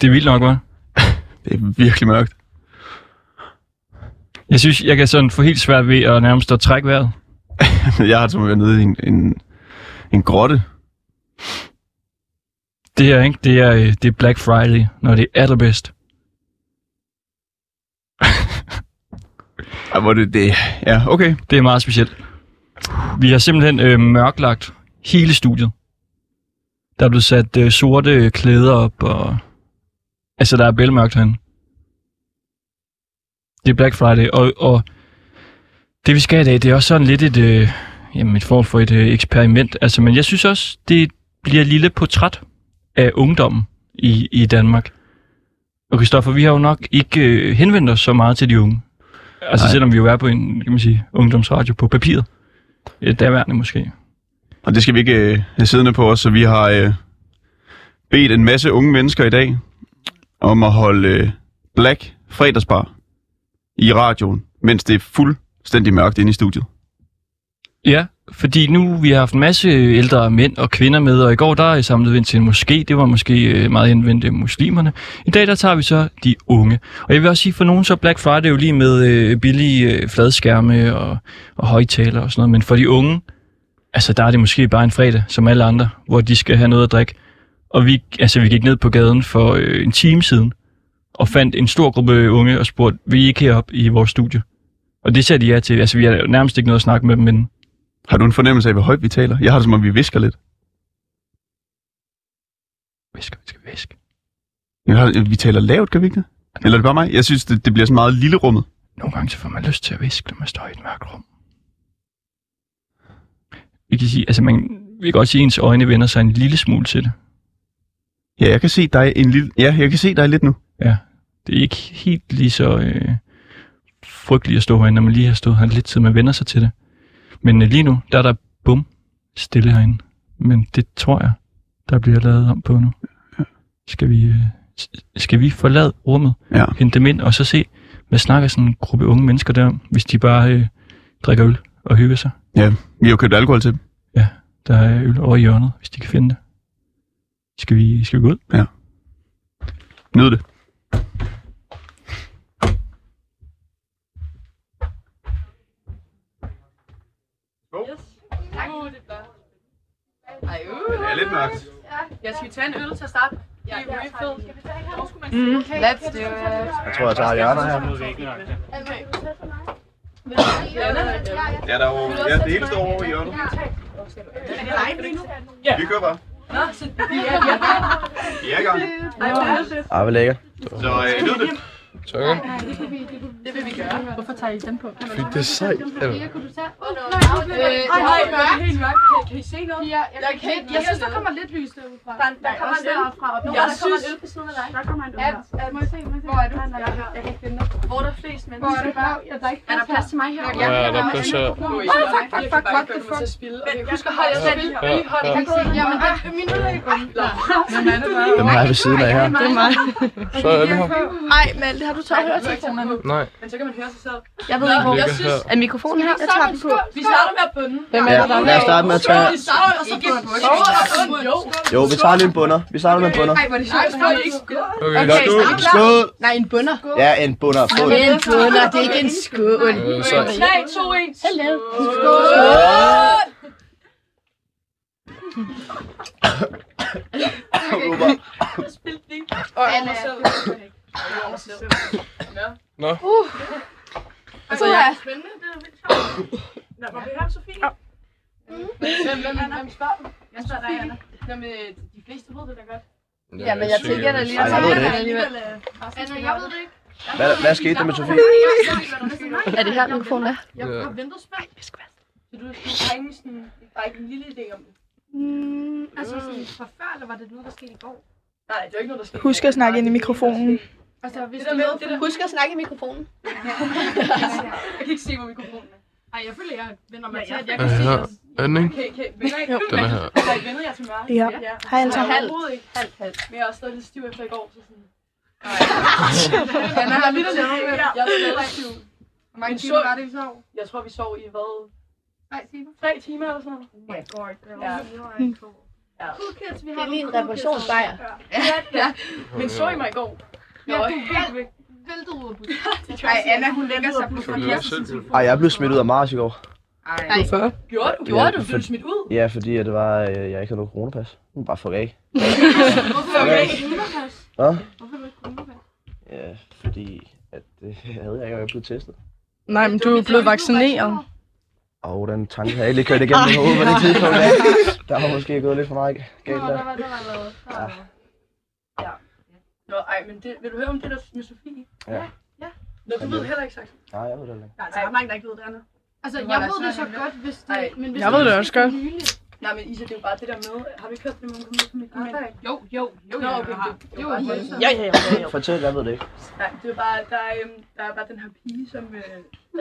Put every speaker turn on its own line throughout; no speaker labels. Det er vildt nok, hva'?
Det er virkelig mørkt.
Jeg synes, jeg kan sådan få helt svært ved at nærmest at trække vejret.
Jeg har simpelthen været nede i en, en, en grotte.
Det her, ikke? Det er, øh, det er Black Friday, når det er allerbedst.
Ej, hvor er det det? Ja, okay.
Det er meget specielt. Vi har simpelthen øh, mørklagt hele studiet. Der er blevet sat øh, sorte øh, klæder op, og... Altså, der er bælmørkt herinde. Det er Black Friday, og, og det vi skal i dag, det er også sådan lidt et, øh, jamen et form for et øh, eksperiment. Altså, men jeg synes også, det bliver et lille portræt af ungdommen i, i Danmark. Og Christoffer, vi har jo nok ikke øh, henvendt os så meget til de unge. Altså
Nej.
Nej. selvom vi jo er på en, kan man sige, ungdomsradio på papiret. Øh, Daværende måske.
Og det skal vi ikke øh, have siddende på os, så vi har øh, bedt en masse unge mennesker i dag om at holde øh, Black fredagsbar i radioen, mens det er fuldstændig mørkt inde i studiet.
Ja, fordi nu vi har haft en masse ældre mænd og kvinder med, og i går der samlede vi ind til en moské. Det var måske øh, meget henvendt øh, muslimerne. I dag der tager vi så de unge. Og jeg vil også sige, for nogen så er Black Friday jo lige med øh, billige øh, fladskærme og, og højtaler og sådan noget. Men for de unge, altså der er det måske bare en fredag, som alle andre, hvor de skal have noget at drikke. Og vi, altså, vi gik ned på gaden for øh, en time siden og fandt en stor gruppe unge og spurgte, vil I ikke herop i vores studie? Og det sagde de ja til. Altså, vi har jo nærmest ikke noget at snakke med dem inden.
Har du en fornemmelse af, hvor højt vi taler? Jeg har det, som om vi visker lidt.
Væske, væske, væske.
Jeg har, vi taler lavt, kan vi ikke det? Eller er det bare mig? Jeg synes, det, det bliver sådan meget lille rummet.
Nogle gange så får man lyst til at viske, når man står i et mørkt rum. Vi kan sige, altså man vi kan godt sige, at ens øjne vender sig en lille smule til det.
Ja, jeg kan se dig en lille... Ja, jeg kan se dig lidt nu.
Det er ikke helt lige så øh, frygteligt at stå herinde, når man lige har stået her lidt tid, man vender sig til det. Men øh, lige nu, der er der bum stille herinde. Men det tror jeg, der bliver lavet om på nu. Skal vi, øh, s- skal vi forlade rummet,
Ja.
hente dem ind, og så se, hvad snakker sådan en gruppe unge mennesker derom, hvis de bare øh, drikker øl og hygger sig.
Vi har jo købt alkohol til dem.
Der er øl over i hjørnet, hvis de kan finde det. Skal vi, skal vi gå ud?
Nyd det.
Ej, uh.
Det er lidt mørkt.
Jeg skal tage en øl til at starte. Det er refill.
Mm.
Let's do
øh,
it.
Jeg tror, jeg tager hjerner her.
Altså,
Altså,
Ja, der er jo... Ja, det hele står over i hjørnet. Vi kører bare. Vi er i gang.
Ej, hvor er det.
Ej, hvor lækker.
Så øh, nyd det.
Det vil vi gøre.
Hvorfor tager I den på?
Fordi det er sejt. eller?
Øh,
Ej,
det er
hvor er
mørkt.
det helt mørkt. Kan- Kan I se noget?
Jeg kan ikke
Jeg synes, der kommer lidt lys derudfra.
Der, der kommer en øl.
derfra.
Jeg
Jeg
synes-
synes... Der kommer en øl på siden af dig. Der kommer en øl
At,
her.
at,
Må jeg se, må jeg se?
hvor er du?
Nej, nej, nej, Jeg kan ikke finde dig.
hvor der er flest
Hvor er
mennesker.
det bare? Ja, der er ikke
Er der plads til mig her?
Ja,
Ja, der er
plads
her.
Åh, fuck, fuck, fuck, what the fuck. Men jeg skal holde jer selv i hånden. Jeg kan ikke se. Jamen, det er min øl. Hvem er det bare?
Hvem har jeg ved siden af her?
Det er mig.
Så er vi her.
Ej, Malte, har du tørt høretelefonerne?
Nej.
Men så kan man høre sig selv.
Jeg ved ikke, hvor.
ligger her.
Er mikrofonen her? Jeg tager den på.
Vi starter med at bunde.
Hvem
Ja, lad os starte med at tage...
Vi starter og så bunde. Skål og bunde. Jo.
Jo, vi tager lige en bunder. Vi starter med en bunder.
Ej, hvor er det sjovt. Ej, ikke skål.
Okay,
Nå,
skål.
Skål!
Nej, en bønder.
Ja, en bunder. Skål.
En bønder, det er ikke en skål.
Øh, så
3, 2, 1. Hello. Og Anna.
Nå.
Altså, jeg
Ja, men jeg tænker da lige,
Ej, jeg ved det ikke.
alligevel.
Hvad, hvad skete der med Sofie?
Er det her, mikrofonen er?
Ja.
Altså sådan fra før, eller var det noget, der skete i går?
Husk at snakke ind i mikrofonen.
Altså, hvis det er noget...
Husk at snakke i mikrofonen.
Ej, jeg føler, jeg vender mig til, at jeg
Er det her? Er den ikke? Den er her.
Ja. Hej alle sammen.
halvt.
Anna har lidt at lave med. Jeg er lidt aktiv.
Hvor mange
En
timer
sund-
var det, vi sov?
Jeg tror, vi sov i hvad?
Nej, timer.
Tre timer eller sådan noget.
Oh my god.
Ja.
Ja.
Det er lige en reparationsbejr.
Men så I mig i går? Nå, helt væk.
Væltet ud af
Ej, Anna, hun lægger sig på
Kan du lave selv?
Ej, jeg blev smidt ud af Mars i går.
Ej,
Hvorfor?
gjorde du?
Ja,
Gjorde du? Blev
for-
du smidt ud?
Ja, fordi at det var, øh, jeg ikke havde noget coronapas. Men bare fuck af.
Hvorfor ikke?
Hvad? Ja, fordi at øh, det havde jeg ikke, og jeg blev testet.
Nej, men du er jo blevet vaccineret.
Og den tanke havde jeg ikke lige kørt igennem mit hoved på det tidspunkt. ja. Der har måske gået lidt for meget galt der.
Nå, ej, men det, vil du høre om det der med Sofie?
Ja.
Ja. Nå, du ved heller ikke sagt.
Nej, jeg ved det ikke.
Der er altså ret mange, der ikke ved det, Anna.
Altså,
Det var
jeg
da
ved det
så
så
lækkert.
godt, hvis
Ej.
det... Men hvis
Jeg ved det også
er
godt.
nyligt.
Nej, men Isa, det er jo bare det der med, har du ikke hørt det, man kommer med
Nej,
familien?
Jo, jo, jo,
Nå,
jeg
okay,
har.
det- det
Jo,
var bare
Jesus.
Ja, ja, ja.
Fortæl, jeg ved det ikke.
Nej, det er bare, der er, øhm, der er bare den her pige, som... Øh, du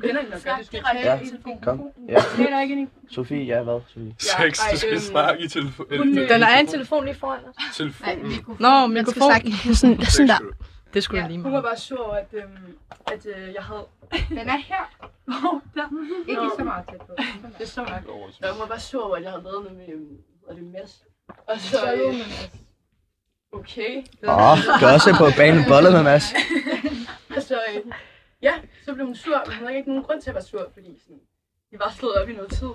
kender hende nok, godt, du skal ikke
Ja,
have i telefonen.
kom. Ja.
Det er der ikke endnu.
Sofie, ja, hvad? Sofie?
Sex,
Ej,
du skal
øhm,
snakke i telefon. øh,
hun-
Den er en telefon lige foran os.
Telefonen.
Nå,
Man skal
mikrofon.
snakke sådan, sådan der.
Det skulle da lige
Hun var
meget.
bare sur over, at, øhm, at øh, jeg havde...
Den er her.
Åh, der.
Ikke
Nå.
så meget tæt på.
Det er så mærkeligt. Jeg var bare sur over, at jeg havde lavet noget med, øhm, og det mess. Og så, øh, okay.
Åh, oh, gør også på banen bollerne, Mads.
Og så, øh, ja, så blev hun sur, men hun havde ikke nogen grund til at være sur, fordi sådan, vi var slået op i noget tid.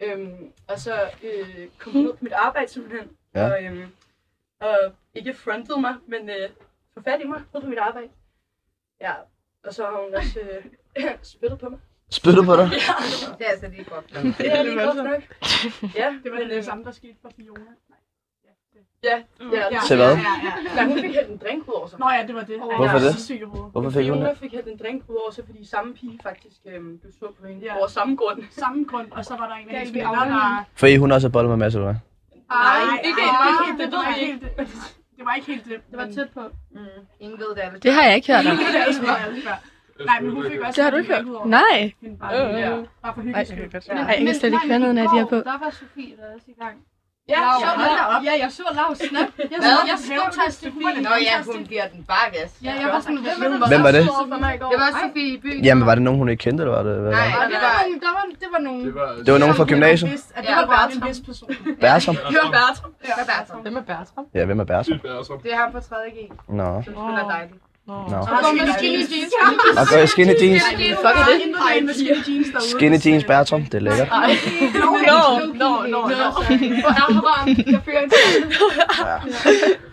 Øhm, og så øh, kom hun ud på mit arbejde simpelthen,
Ja.
og, øhm, og ikke frontede mig, men øh, tog fat i mig ud på mit arbejde. Ja, og så har hun også øh, spyttet på mig.
Spytter på dig.
Det er altså lige godt.
Det er lige godt nok. Ja,
Det var
men, øh,
det samme, der skete for Fiona.
Ja, ja, ja.
Til hvad?
Nej, hun fik hældt en drink ud over sig.
Nå ja, det var det. Ej,
Hvorfor
jeg er
det?
så syg i hovedet.
Hvorfor fik hun
Fiona
det?
fik hældt en drink ud over sig, fordi samme pige faktisk øhm, blev sur på hende
Ja.
ja. over samme grund.
Samme grund, og så var der en af
Ja,
hendes
vi
venner, der...
Fordi hun også har bollet med Mads, eller hvad?
Nej, ikke helt,
ej,
ikke helt, det
det
ved
var
vi
ikke
ikke.
helt det. Det var ikke helt det.
Det var tæt på.
Mm.
Ingen ved det,
Det har jeg ikke hørt om.
Det er altså bare alle før. Nej, men hun fik også...
Det har du ikke hørt? Nej.
Hende bare,
Øh, øh,
ja,
øh.
bare for
Nej,
hyggens skyld.
Ej, jeg kan slet ikke høre noget, når de er på.
Der var Sofie der også i gang.
Ja,
Laura,
sjovt
hold da
nok.
op.
Ja, jeg så Lav snap.
Jeg
Hvad?
skrev, jeg skrev til Sofie.
Nå,
Nå ja, hun giver den bare gas.
Ja, jeg var sådan, hvem er
Hvem var det?
For mig i går.
Det var Sofie i byen.
Jamen, var det nogen, hun ikke kendte, eller var det? Hvad var
Nej,
det?
Ej,
det
det
var...
var nogen, der var, det var nogen.
Det var...
Det var nogen fra gymnasiet.
At det var bare en vis person.
Bertram?
Det var Bertram.
Det var Bertram.
Hvem er Bertram?
Ja, hvem er Bertram?
Bertram.
Det er ham på 3. G, som
Nå.
spiller dejligt.
Nå.
Nå.
Og går med skinny jeans.
Og gør jeg skinny jeans?
Fuck er det?
Ej, med skinny jeans derude.
Skinny jeans, Bertram. Det er lækkert.
Nå,
Nå,
nå, nå. Hvor er ham? Jeg føler en Ja,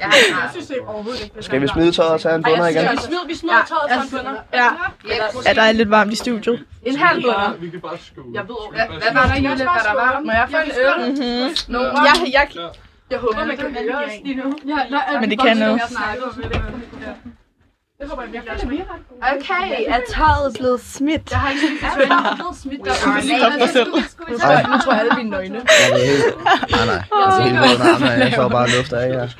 ja.
Jeg synes det overhovedet ikke. det er
Skal vi
sådan.
smide tøjet og tage en
Ej,
bunder
jeg
igen?
synes, vi smider, vi smider tøjet fra en bunder.
Ja.
Yes.
Ja, der er lidt varmt i studiet.
En halv bunder.
Vi kan bare skåle.
Jeg ved over.
Hvad- Hvad var der i det, der var? Må jeg få en øl?
No. Jeg, jeg,
Jeg håber, man kan høre os lige nu.
Ja, nej,
Men det kan noget.
Det håber jeg virkelig også. men
Okay, er tøjet blevet smidt?
Jeg har ikke set det. Jeg har blevet smidt der.
Ej,
nu tror jeg alle mine nøgne.
jeg er helt... Nej, nej. Jeg er helt våd under armene. Jeg får bare luft af her.
Altså,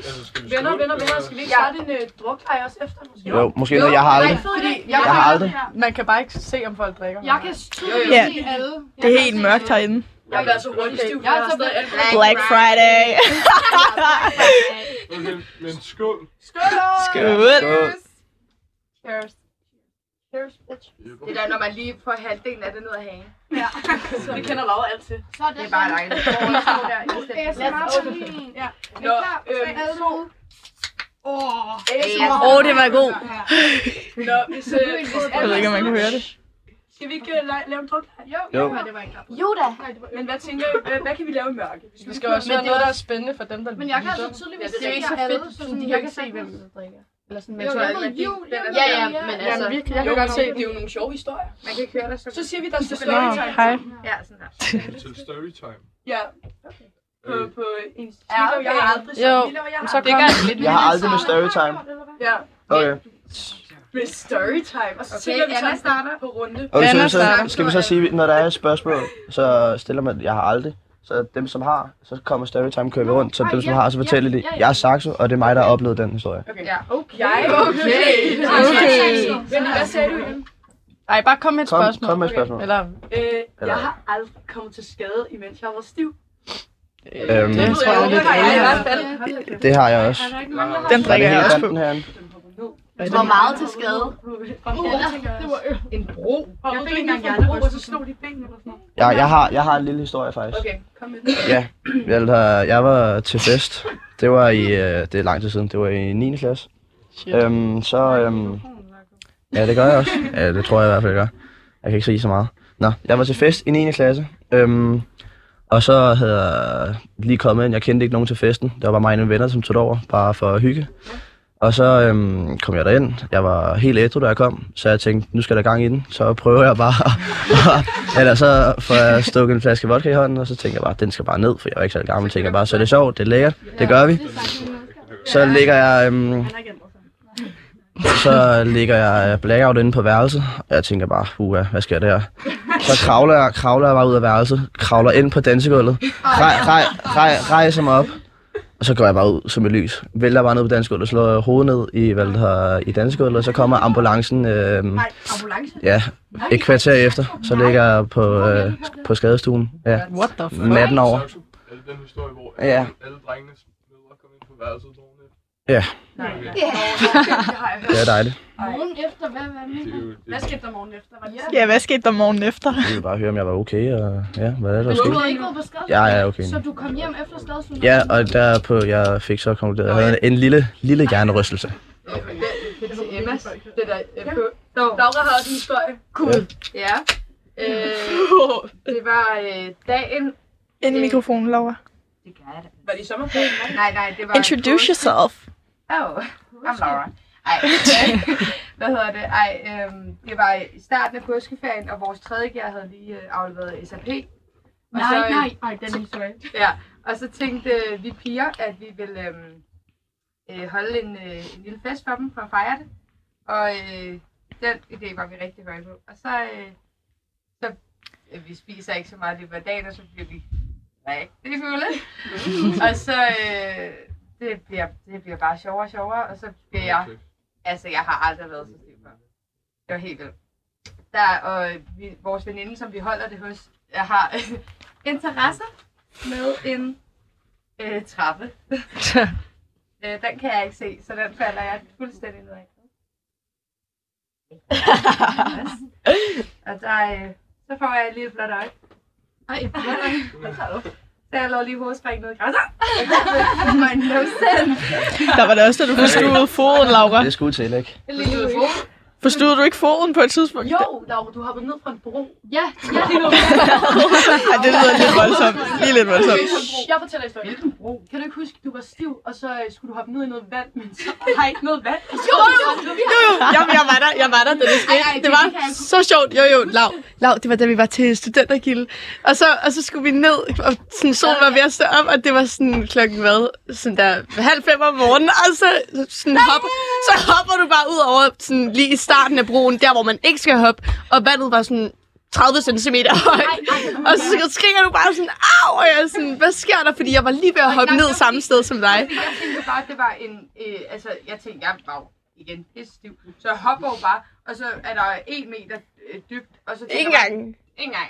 Venner, venner, venner. Skal vi ikke starte en øh, drukleje også efter? måske?
Jo, måske noget, jeg har aldrig.
Fordi
Jeg,
Jeg har
kan-
aldrig.
Man kan bare ikke se, om folk drikker.
jeg kan styrke
Ja.
se alle.
Det er helt mørkt herinde.
Jeg bliver altså hurtigt stiv.
Jeg er så blevet
blevet...
Black Friday.
Okay, men skål.
Skål.
Cheers. Det er der, når man lige får halvdelen af det ned af hagen.
Det kender Laura altid.
Så er
Det er bare dejligt.
Ja.
Nå,
Øhm,
øhm,
så...
Åh,
Åh, oh, det var god.
nå, hvis... øh, hvis
Jeg ved ikke, om man kunne høre det.
Skal vi ikke øh, la- lave en drukleje? Jo.
Jo.
det var ikke klart.
Jo da.
Men hvad tænker I? Hvad, hvad kan vi lave i mørke?
Vi skal også høre noget, der er spændende for dem, der
Men jeg kan altså tydeligvis
Det er
se
jo ikke
jer
så fedt,
alle,
fordi de
sådan,
kan
jeg
ikke se,
se, hvem
hvem
der drikker.
Eller sådan,
Jo, jeg ved, jo, jo,
Ja, ja, men altså...
Jamen virkelig, jeg
Jo,
kan godt se.
det er jo nogle sjove historier.
Man kan ikke høre dig så
Så siger vi, der står
Nå,
storytime.
hej.
Ja, sådan der.
Til storytime.
Ja, på,
Mm.
Øh,
på en stil, og jeg har aldrig
Jo,
sagt, Lille, og jeg
Så
har
kom.
Jeg har aldrig med storytime.
Ja,
Okay.
med storytime. Og så
Okay,
tænker vi
Anna
så
starter.
på runde.
Okay, så,
Anna
så
starter.
skal vi så sige, når der er et spørgsmål, så stiller man, jeg har aldrig. Så dem, som har, så kommer storytime, kører vi rundt. Så dem, som har, så fortæller de, jeg er Saxo, og det er mig, der har oplevet den historie.
Ja.
Jeg
Okay.
Okay.
Men hvad sagde du igen?
Ej, bare kom med et
Kom,
spørgsmål.
kom med et spørgsmål.
Eller,
Øh,
Eller-
jeg har aldrig kommet til skade, imens jeg var stiv.
Øhm,
det tror jeg lidt.
Ja, i
alle
hvert
har.
fald.
det har jeg også.
Jeg har-
Den
Var det
drikker jeg
helt
også på.
banden herinde?
Den hopper ned.
Hvor meget til skade?
En bro. Jeg fik engang hjernebryst, og så slog de benene eller sådan noget.
Jeg, jeg, har, jeg har en lille historie faktisk.
Okay, kom med den.
Ja, jeg, har- jeg var til fest. Det var i, øh, det er lang tid siden, det var i 9. klasse.
Shit.
Øhm, så, øhm, ja det gør jeg også. Ja, det tror jeg i hvert fald, jeg gør. Jeg kan ikke sige så meget. Nå, jeg var til fest i 9. klasse. Øhm, og så havde jeg lige kommet ind. Jeg kendte ikke nogen til festen. Det var bare mig og nogle venner, som tog det over, bare for at hygge. Og så øhm, kom jeg derind. Jeg var helt ædru, da jeg kom. Så jeg tænkte, nu skal der gang i den. Så prøver jeg bare Eller så får jeg stukket en flaske vodka i hånden, og så tænker jeg bare, den skal bare ned, for jeg er ikke særlig gammel. Tænker jeg bare, så er det sjovt, det er lækkert, det gør vi. Så ligger jeg, øhm, så ligger jeg øh, blackout inde på værelset, og jeg tænker bare, uha, hvad sker der her? Så kravler jeg, kravler jeg bare ud af værelset, kravler ind på dansegulvet, rej, rej, rej, rejser mig op, og så går jeg bare ud som et lys. Vælter bare ned på dansegulvet, slår hovedet ned i, hvad det hedder, i dansegulvet, og så kommer ambulancen, øhm,
Nej, ambulance.
ja, et kvarter efter, så ligger jeg på, øh, sk- på skadestuen. Ja.
What the fuck?
Natten over.
Øh, Saxo, Er det den historie, hvor
Ja.
alle, alle drengene møder kom ind på værelset dagen efter?
Ja.
Nej, nej.
Det er dejligt.
Morgen efter, hvad var det?
Det er jo, det,
Hvad skete der morgen efter? Var det
Ja, hvad skete der morgen efter?
Jeg ville bare høre, om jeg var okay, og ja, hvad er der, der
Du
skete?
havde ikke været på skade?
Ja, ja, okay.
Så du kom hjem efter skadesundhed?
Ja, og derpå, jeg fik så konkluderet, at jeg havde en lille, lille hjernerystelse.
Det er til Emmas.
Det der, øh, på. Laura har også en historie.
Ja. Øh, det var øh, dagen...
Ind i mikrofonen, Laura.
Det gør jeg da.
Var det i sommerferien? hva'?
Nej, nej, det var...
Introduce yourself.
Oh, I'm Laura. Ej, øh, hvad hedder det? Ej, øhm, det var i starten af påskeferien, og vores tredje gear havde lige øh, afleveret SAP. Og
Nej,
øh,
nej, nej, den historie.
Ja, og så tænkte øh, vi piger, at vi ville øhm, øh, holde en, øh, en lille fest for dem for at fejre det. Og øh, den idé var vi rigtig høje på. Og så, øh, så øh, vi spiser ikke så meget i løbet af dagen, og så bliver vi rigtig fulde. og så øh, det, bliver, det bliver bare sjovere og sjovere, og så bliver jeg Altså, jeg har aldrig været så stiv før. Det var helt vildt. Der, og vi, vores veninde, som vi holder det hos, jeg har interesser med en øh, trappe. øh, den kan jeg ikke se, så den falder jeg fuldstændig ned af. og der, øh, så får jeg lige et flot øje.
Ej,
Hvad tager du? Så jeg lå lige hovedspring ned i græsset. My no sense.
Der var det også, da du forstuede foden, Laura.
Det skulle til, ikke?
En lille fod.
Forstuede du ikke foden på et tidspunkt?
Jo, Laura, du hoppede ned fra en bro.
Ja, ja.
Ej, det lyder lidt voldsomt. Lige lidt voldsomt.
Jeg fortæller historien.
Hvilken bro?
Kan du ikke huske, du var stiv, og så øh, skulle du hoppe ned i noget vand, men så har ikke noget vand. Jo,
Jamen, jeg var der, jeg var der, da det skete.
Ej, ej, det
det var
kan jeg ikke.
så sjovt. Jo, jo, lav. Lav, det var da vi var til studentergilde. Og så, og så skulle vi ned, og sådan, solen var ved at stå op, og det var sådan klokken hvad? Sådan der halv fem om morgenen, og så, sådan hopper, så hopper du bare ud over sådan lige i starten af broen, der hvor man ikke skal hoppe, og vandet var sådan 30 cm højt. Og så skriger du bare sådan, au, og jeg er sådan, hvad sker der? Fordi jeg var lige ved at hoppe
jeg-
ned samme sted som dig.
Fordi jeg tænkte bare, at det var en... Øh, altså, jeg tænkte, jeg var jo igen pisse stiv. Så jeg hopper jo bare, og så er der en meter øh, dybt. Og så tænker
Ikke
jeg bare-
engang.
Ikke engang.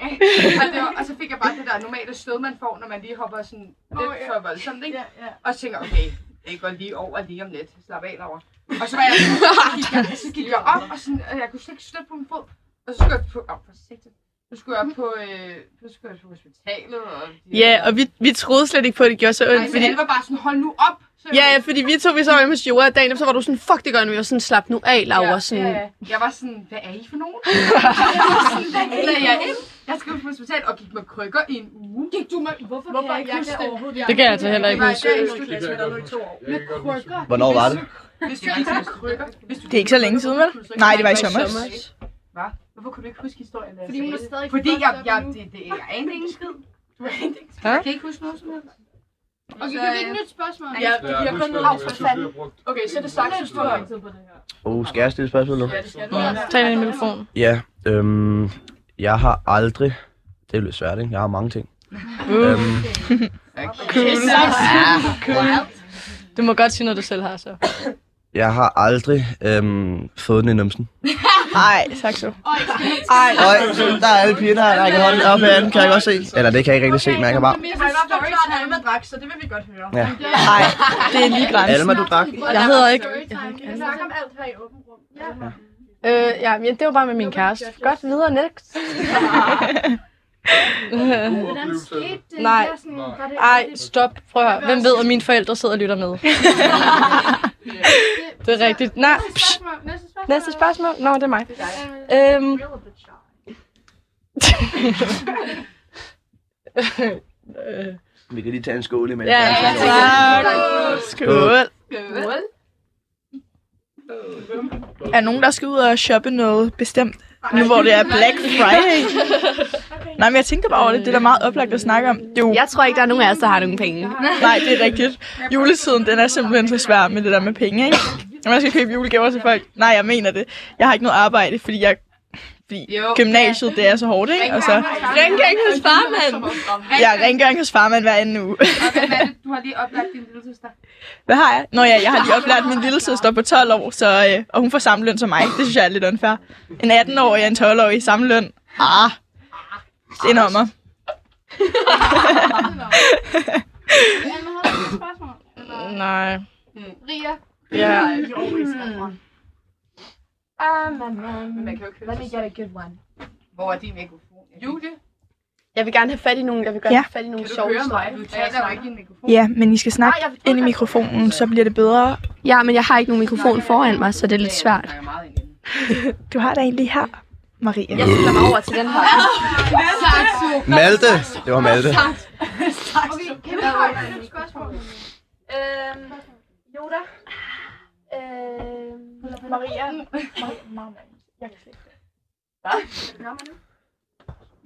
og, det var, og så fik jeg bare det der normale stød, man får, når man lige hopper sådan lidt
Åh, ja.
for voldsomt, ikke?
Ja, ja.
Og så tænker jeg, okay, det går lige over lige om lidt. Slap af over. Og så var jeg så gik jeg, så gik jeg op, og, sådan, og jeg kunne slet ikke støtte på min fod. Og så skulle jeg på... Åh, forsigtigt. Så skulle jeg på, øh, så skulle jeg på hospitalet. Og de-
Ja, og vi, vi troede slet ikke på, at det gjorde så
Nej,
ondt,
fordi...
fordi...
alle var bare sådan, hold nu op. Så
Ja, ja, fordi vi to, vi så var hjemme hos Jura og dagen, efter, så var du sådan, fuck, det gør nu, vi var sådan, slap nu af, Laura, ja, sådan... Ja,
ja. Jeg var sådan, hvad er I for nogen? jeg var sådan, hvad er jeg ind? Jeg skal på hospital og gik med krykker i en uge.
Gik du med... Hvorfor,
Hvorfor
kan jeg
jeg
ikke huske det?
overhovedet?
Det kan jeg altså heller
Det
ikke
var
huske.
der i
det kan
slutningen, jeg
jeg godt
i
huske.
to år.
Jeg kan godt huske. det.
Hvornår var det?
Hvis du ikke huske krykker. Hvis du
Det er ikke så længe siden, vel? Nej, det var i sommer.
Hva? Hvorfor kunne du ikke huske historien? da jeg
Fordi
sagde
hun er
det?
stadig
Fordi jeg,
fucked up
jeg,
endnu.
det, det, jeg anede ingen skid. Du anede ingen skid.
Hva?
Jeg kan ikke huske noget som helst. Og
Okay,
så,
kan vi ikke
øh,
et nyt spørgsmål?
Ja,
Ja,
vi har kun
husker
noget
det,
for
jeg synes,
fanden.
vi har brugt
Okay, så er det sagt, du har tid på det her.
Uh, skal jeg stille et spørgsmål nu?
Ja, det skal du.
Tag den i mikrofonen.
Ja, øhm, jeg har aldrig... Det er jo lidt svært, ikke? Jeg har mange ting. Øhm,
Du må godt sige noget, du selv har, så.
jeg har aldrig øhm, fået den i numsen.
Ej, Saxo.
Ej, øj, der er alle piger, der har rækket hånden op ad den, kan jeg godt se. Eller det kan jeg ikke rigtig se, men jeg kan bare...
Men jeg
Han
synes,
var
stories
forklaret, at
time.
Alma drak, så det vil vi godt høre.
Ja.
Nej, det er lige grænsen.
Alma, du drak.
Jeg hedder ikke-
Storytime.
Vi snakker om alt her i åben rum. Ja.
Øh, ja, men det var bare med min kæreste. Godt, videre next.
Hvordan skete det?
Nej.
Jeg er sådan, var det-
Ej,
var det-
stop. Prøv at høre. Hvem ved, at mine forældre sidder og lytter med? Det er rigtigt. Nej,
Næste
psh.
spørgsmål. Næste spørgsmål.
Næste spørgsmål. Nå, det er mig.
Øh,
Øhm,
Vi kan lige tage en skål imens.
ja, ja, tak.
Skål.
Skål.
Er der nogen, der skal ud og shoppe noget bestemt? Nu hvor det er Black Friday. Nej, men jeg tænkte bare over det. Det er da meget oplagt at snakke om. Det er Jo,
Jeg tror ikke, der er nogen af os, der har nogen penge.
nej, det er rigtigt. Julesiden, den er simpelthen så svær med det der med penge, ikke? Når man skal købe julegaver til folk. Nej, jeg mener det. Jeg har ikke noget arbejde, fordi jeg fordi
Jo.
gymnasiet, det er så hårdt, ikke? Og så,
Rengøring hos farmand.
jeg er rengøring hos farmand hver anden uge.
Og hvad er det, du har lige oplagt din lille søster?
Hvad har jeg? Nå ja, jeg har lige oplært min lille søster på 12 år, så, øh, og hun får samme løn som mig. Det synes jeg er lidt unfair. En 18-årig og en 12-årig i samme løn. Ah, det er
Alma,
mig.
har du et spørgsmål? Eller-
Nej.
Ria,
Ja.
Ah, man, man.
Man kan jo købe
Let me
sig
get a good one.
Hvor er din mikrofon? Julie,
Jeg vil gerne have fat i nogen. Jeg vil gerne
Ja.
have fat i
kan
nogle
du
sjove
høre mig?
historier.
Du taler jo ikke i en mikrofon.
Ja, men I skal snakke ind i mikrofonen, så bliver det bedre.
Ja, men jeg har ikke nogen mikrofon foran mig, så det er lidt
Jeg
svært.
snakker meget ind i den.
Du har da en lige her, Maria.
Jeg stiller mig over til den her.
Malte! Det var Malte.
Okay, kan vi have et spørgsmål? Øhm, Yoda. Øhm, Maria.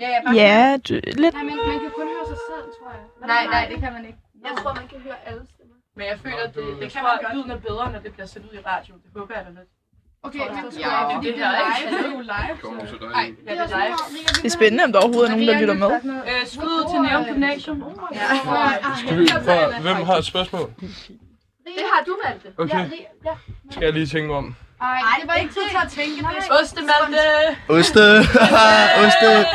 Ja, ja, bare
Ja, du, lidt.
Nej, men man kan kun høre sig selv, tror jeg. Hvad
Nej,
med
nej,
mig?
det kan man ikke.
Jeg tror, man kan høre alle stemmer.
Men jeg føler, at det, det kan
tror,
man godt. Lyden er bedre, når det bliver sendt ud i radioen. Det håber jeg da lidt.
Okay, men
Ja,
det,
det
er
er
live.
ikke. Det er jo live.
Kom så dig.
Nej, ja,
Det
det
er
er live.
Det er spændende, om der overhovedet er nogen, der lytter med.
Øh, skud til Neon Gymnasium. Ja.
Skal vi, prøv, at- hvem har et spørgsmål?
Det har du valgt det.
Okay.
Ja, Ria. Ja.
Skal jeg lige tænke mig om.
Ej, det var ikke tid til at tænke det.
Ostemalte!
Oste! oste!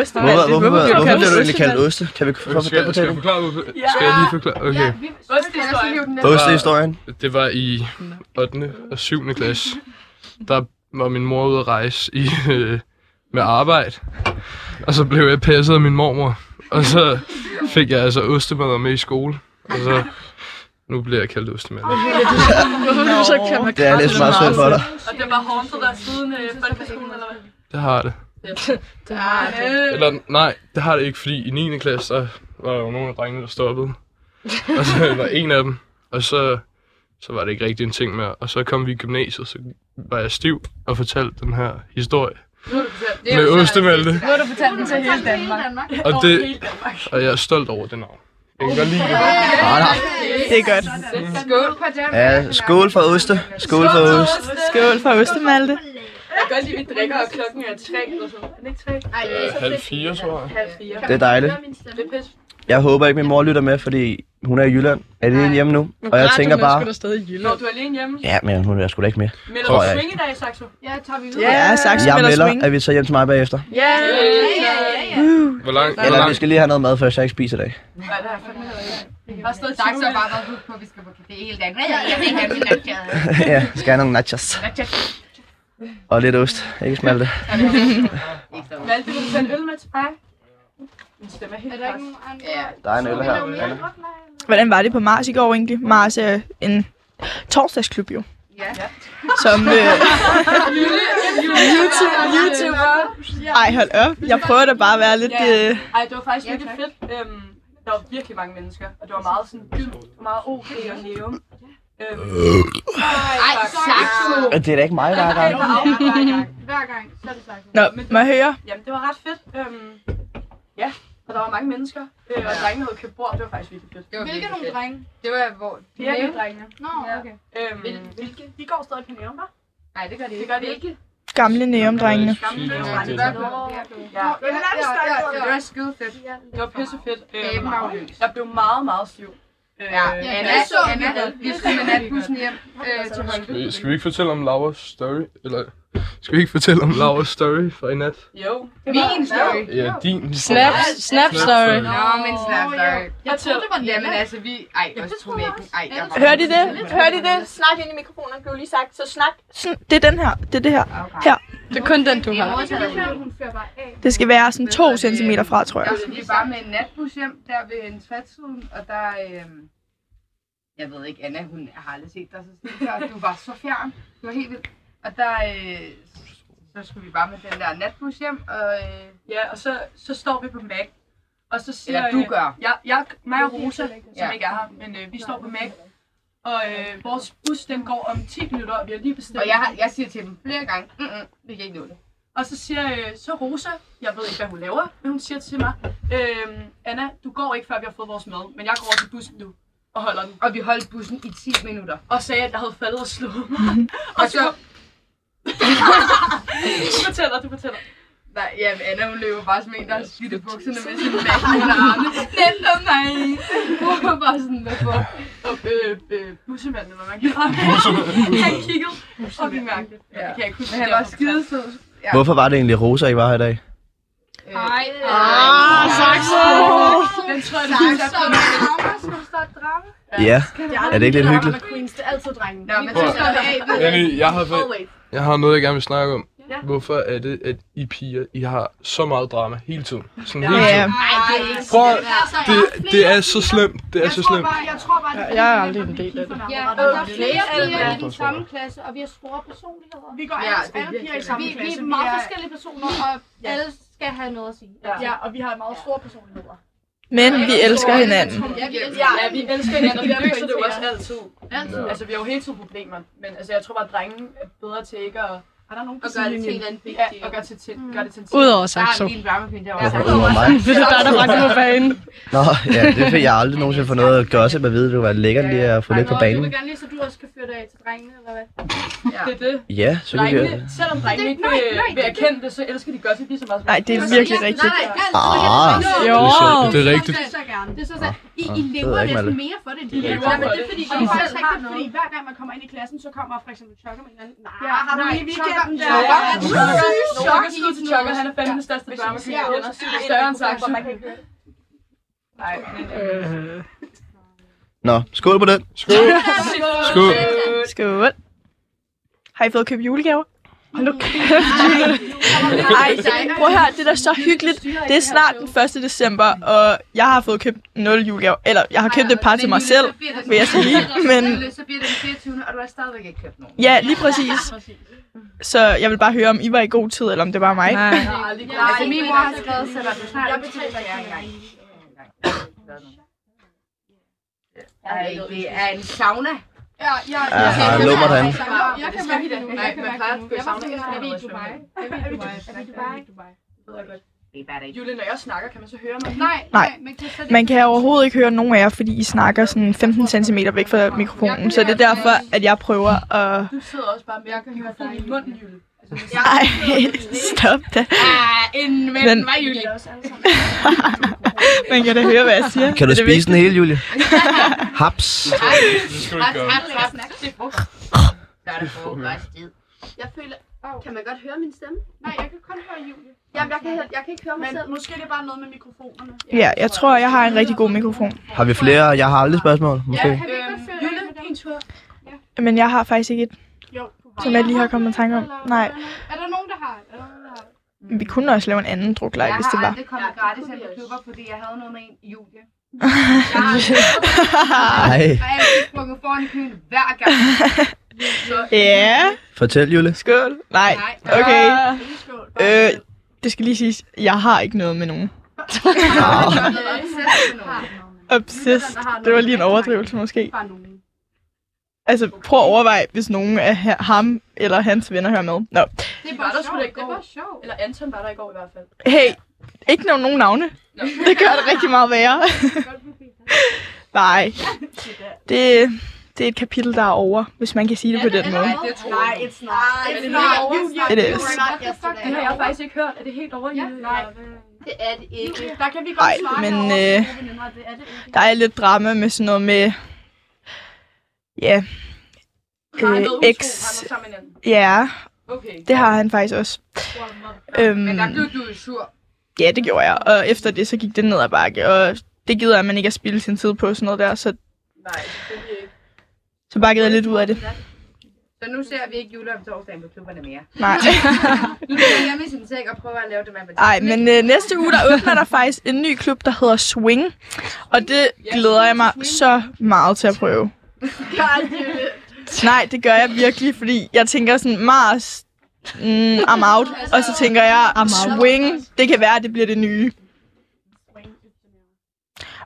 Oste,
Hvorfor, hvorfor,
bliver du
hvorfor
kaldt
bliver du
oste?
egentlig kaldt oste? Kan vi få
Skal,
fortælle
skal jeg
det?
forklare, hvorfor? Skal jeg lige forklare? Okay.
Ostehistorie.
Ostehistorien.
Det var i 8. og 7. klasse. Der var min mor ude at rejse i, øh, med arbejde. Og så blev jeg passet af min mormor. Og så fik jeg altså ostemad med i skole. Og så... Nu bliver jeg kaldt ostemad.
Hvorfor bliver du så kaldt mig
Det er lidt meget sødt for dig.
Og det var haunted der siden øh, folkeskolen, eller hvad?
Det har det. Eller nej, det har det ikke, fordi i 9. klasse, der var der jo nogle af drengene, der stoppede. Og så var en af dem. Og så, så var det ikke rigtig en ting mere. Og så kom vi i gymnasiet, så var jeg stiv og fortalte den her historie.
Det er
Med
jo så-
ostemalte.
Nu har du fortalt den til hele Danmark.
Danmark.
Og, det, og jeg er stolt over det navn. Jeg kan godt lide det.
Ah, nej.
Det er godt.
Skål på dem.
Ja, skål for oste. Skål for oste.
Skål for
Jeg
ostemalte.
kan godt lide, at vi drikker, og klokken er tre eller sådan. Er det ikke tre? Nej, det
Øh, halv fire, tror jeg.
halv fire.
Det er dejligt.
Det er pisse.
Jeg håber ikke, min mor lytter med, fordi hun er i Jylland. Er det en hjemme nu? Og jeg tænker bare...
der stadig i
Når du er alene hjemme,
Ja, men hun er sgu da ikke med.
melder
Tror
du
jeg
swing i dag, Saxo?
Ja, tager vi ud.
Ja, Saxo
Jeg
melder swing.
melder, at vi tager hjem til mig bagefter.
Ja.
ja, ja, ja.
Hvor lang, hvor
Eller vi
lang,
skal lige have noget mad først, jeg har ikke spist i dag.
Nej, det har jeg fandme heller ikke.
Jeg
har stået
Saxo
og
er
bare været hooked på, at vi skal på café hele dagen. Jeg vil ikke have min natjade.
ja, skal have nogle nachos. Og lidt ost. Ikke smalte.
Malte, vil du tage en øl med til mig? Min stemme er helt
Er der ikke
pres.
nogen andre?
Ja.
Der er en øl
Vil
her.
du mere druk? Nej.
Hvordan var det på Mars i går egentlig? Mars er en torsdagsklub jo.
Ja.
Som, øh,
YouTube, YouTuber.
ej hold op, jeg prøver da bare at være lidt... Øh,
Ej, det var faktisk virkelig fedt. Øhm, der var virkelig mange mennesker, og det var meget sådan byd, og meget ok og nævn.
Øh.
Øhm, Ej, Saxo!
Det er da ikke mig, der er gang.
Hver gang. Hver gang, så er det sagt.
nå, må jeg høre?
Jamen, det var ret fedt. Øhm, ja, og der var mange mennesker, øh, og drengene havde købt bord, det var faktisk virkelig fedt.
Hvilke nogle drenge?
Det var, hvor...
Nævn.
drengene.
Nå, okay.
Øhm, hvilke? De går stadig på nævn, hva'? Nej, det gør de ikke. Det gør de ikke.
Gamle neomdrengene.
Gamle Ja. Det var skide fedt. Det var pisse fedt. Øhm, jeg blev meget, meget stiv. Ja,
Anna- Anna
vi skulle med natbussen hjem øh, til Holmen.
skal vi ikke fortælle om Lauras story? Eller Skal vi ikke fortælle om Lauras story fra i nat?
Jo.
Min story.
Ja, din.
Snap, snap story.
Nå, men snap story.
Jeg troede, det var Nana.
Jamen altså, vi... Ej, også tog med Ej, jeg var...
Hørte I det? Hørte I det?
Snak ind i mikrofonen, blev lige sagt. Så snak.
Sådan, det er den her. Det er det her. Her.
Det er kun den, du har.
Hun fører bare af.
Det skal være sådan to centimeter fra, tror jeg.
Der skulle altså, vi bare med en natbus hjem, der ved en trætsiden, og der... øhm, jeg ved ikke, Anna, hun har aldrig set dig så stille før. Du var så fjern. Du var helt vildt. Og der... øh, så skulle vi bare med den der natbus hjem, og... øh,
Ja, og så, så står vi på Mac. Og så siger...
Eller du
øh,
gør.
Jeg, jeg, mig og Rosa, som
Ja.
ikke er her, men øh, vi står på Mac. Og øh, vores bus, den går om 10 minutter, og vi har lige bestilt.
Og jeg, har- jeg siger til dem flere gange, mm -mm, vi kan ikke nå det.
Og så siger øh, så Rosa, jeg ved ikke, hvad hun laver, men hun siger til mig, øh, Anna, du går ikke, før vi har fået vores mad, men jeg går over til bussen nu og holder den.
Og vi holdt bussen i 10 minutter.
Og sagde, at jeg havde faldet og slået mig.
Og så...
du fortæller, du fortæller.
Nej, ja, men Anna, hun løber bare som en, der har skidt i bukserne med sin mand under armene. Den er mig! Hun var bare sådan, hvad for?
Og øh, øh, bussemanden, eller hvad man kalder ham. Han kiggede fucking mærkeligt. Ja. Det kan jeg ikke Ah, huske.
Men han
det
var
var
skidesød. Ja.
Hvorfor var det egentlig, at Rosa ikke var her i dag?
Ej,
Ah, saksen!
Den tror jeg, det
Saksen.
er så meget.
Ja. Er det ikke lidt hyggeligt?
Queens, det er altid drengen.
Nå, men så slår vi af. ved-
Annie, jeg har, fa-
Always.
jeg har noget, jeg gerne vil snakke om.
Ja.
Hvorfor er det, at I piger, I har så meget drama hele tiden? Sådan hele
Ja,
tiden.
Ej, det er ikke
Prøv, at-
Der er så
det, det er så slemt. Det er så slemt.
Jeg tror bare, det
Jeg er aldrig en del af det.
Ja,
og
og der er
det er
flere piger i
det.
den samme klasse, og vi har store personligheder.
Vi går
Ja,
alle,
det er
alle piger i
virkelig-
samme
Vi, vi
klasse.
er meget forskellige personer, og
Ja.
alle skal have noget at sige.
Ja.
Ja, og vi har meget store personligheder.
Men vi elsker hinanden.
Ja, vi
Ja,
elsker
ja, vi elsker hinanden, og vi løser det jo også altid.
altid.
Altså, vi har jo hele tiden problemer, men altså, jeg tror bare, at drengen er bedre til ikke at... Er der nogen
Og gør det til en eller anden
Ja,
vigtig.
og gør, til, til, gør det til en ting.
Udover
Der er
Saxo.
en lille varmepind
Ja,
derovre.
udover mig.
Det er dig, der bragte mig på banen.
Nå, ja, det fik jeg aldrig nogensinde for noget at gøre til, at vide, det var lækkert lige at få lidt på
Du
banen.
vil gerne lige, så du også kan føre det af til drengene, eller hvad?
Det er det.
Ja, så kan vi
Drengene,
høre.
selvom drengene ikke
nej,
vil,
nej,
vil
det-
erkende det, så elsker de godt lige så meget. som
Nej, det er
os.
virkelig rigtigt.
Nej, nej,
Ah,
Det
Jo.
er, så, det er rigtigt.
Det er så gerne. Det er så
Nå,
sandt. I,
nå,
I
det ved
lever
jeg ikke,
næsten mere for det, end de
lever
lever.
for
men det
det.
er fordi,
Og
I
I
selv
selv
har
har
noget.
fordi hver gang man kommer ind i klassen, så kommer for eksempel chokker med hinanden. Nej,
Ja,
har du
nej,
lige
chokker-
weekenden der?
chokker-
Ja,
chokker-
chokker-
Chokker skud til Chokker, han er fandme den største drama queen, jeg kender. Større end Saxo.
Nej, men... øh,
Nå, skål på den.
Skål. Skål.
Skål. Har I fået købt julegaver? Hold nu kæft. Ej, prøv at høre, det er da så hyggeligt. Det er snart den 1. december, og jeg har fået købt 0 julegaver. Eller, jeg har købt et par til mig selv, vil jeg sige. Men
Så bliver det den 24. og du har stadigvæk ikke købt nogen.
ja, lige præcis. Så jeg vil bare høre, om I var i god tid, eller om det var mig.
Nej.
Ja,
Altså, min mor har
men-
skrevet, så der er snart
Jeg
ikke
betaler
til, at jeg
ikke
engang.
engang.
Ej, det er en sauna.
Ja, ja,
Ja, har lov mig derinde.
Jeg kan mærke det nu.
Nej,
Jeg kan
man
mærke det
plejer at
nu.
gå i
Jeg var
sauna
sådan,
efter
er vi i
noget
Dubai? Er vi i Dubai? Er vi i Dubai?
Det er bare det.
Julie, når jeg snakker, kan man så høre mig?
Nej,
Nej.
men det er slet
Man
ikke-
kan overhovedet ikke høre nogen af jer, fordi I snakker sådan 15 cm væk fra mikrofonen. Så det er derfor, at jeg prøver at...
Du sidder også bare med mikrofonen i munden, Julie. Altså,
Ej, stop da.
Ah, inden mellem
Men-
mig, Julie.
Man kan da høre, hvad jeg siger.
Kan du
Det er
spise den hele, Julie? Haps.
Det skal du
Hap,
ikke gøre.
hap, hap. Det er frugt. Så er det frokosttid.
Jeg føler,
Au.
kan man godt høre min stemme?
Nej, jeg kan kun høre Julie.
Jamen, jeg kan, he- jeg kan ikke høre mig
Men
selv.
måske er det bare noget med mikrofonerne.
Ja, jeg tror, jeg har en rigtig god mikrofon.
Har vi flere? Jeg har aldrig spørgsmål, måske.
Kan vi ikke godt føre
Julie,
det med
din tur.
Men jeg har faktisk ikke et,
Jo,
som jeg lige har kommet i tanke om. Nej,
Er der nogen, der har? Er der nogen, der har?
vi kunne også lave en anden druklej, hvis det
Jeg har
var.
aldrig kommet gratis ind på klubber, fordi jeg havde noget med en i Julie. Jeg har
Ej,
altid sprunget foran køen hver gang.
Ja,
fortæl, Julie.
skål. Nej,
Nej.
okay.
Skål.
Øh, det skal lige siges, jeg har ikke noget med nogen. Obsess. Det var lige en overdrivelse måske.
Bare nogen.
Altså, prøv at overveje, hvis nogen af ha- ham eller hans venner hører med. Nå,
Det
var der sgu da i går.
sjovt.
Eller Anton var der i går i hvert fald.
hey, ikke nævn nogen navne.
Nå.
Det gør det rigtig meget værre. Nej, det, det er et kapitel, der er over, hvis man kan sige det på den måde.
det tror
Nej,
jeg.
it's not.
It's
It's
not.
not. It's not.
It is.
What the fuck?
Det har jeg faktisk ikke hørt. Er det helt over, Øh, Julie?
nej.
Det er det ikke.
Der kan vi godt
Ej,
svare
men,
herovre,
øh,
gode veninder, det er det ikke.
Der er lidt drama med sådan noget med... Ja,
Nej,
øh,
noget utro,
ex-
han var sammen med hinanden.
ja,
Okay.
Det har han faktisk også. Øhm,
Men der blev du jo sur.
Ja, det gjorde jeg. Og efter det, så gik det ned ad bakke. Og det gider man ikke at spille sin tid på sådan noget der, så,
Nej, selvfølgelig ikke.
så bakkede jeg lidt ud af det.
Så nu ser vi ikke juleoptorsdagen på klubberne mere.
Nej.
Nu er jeg hjemme i sin seng og prøver at lave det med
Ej, men øh, næste uge, der åbner der faktisk en ny klub, der hedder Swing. Og det glæder jeg mig så meget til at prøve. Nej, det gør jeg virkelig, fordi jeg tænker sådan, Mars, mm, I'm out. Og så tænker jeg,
I'm out.
Swing, det kan være, at det bliver det nye.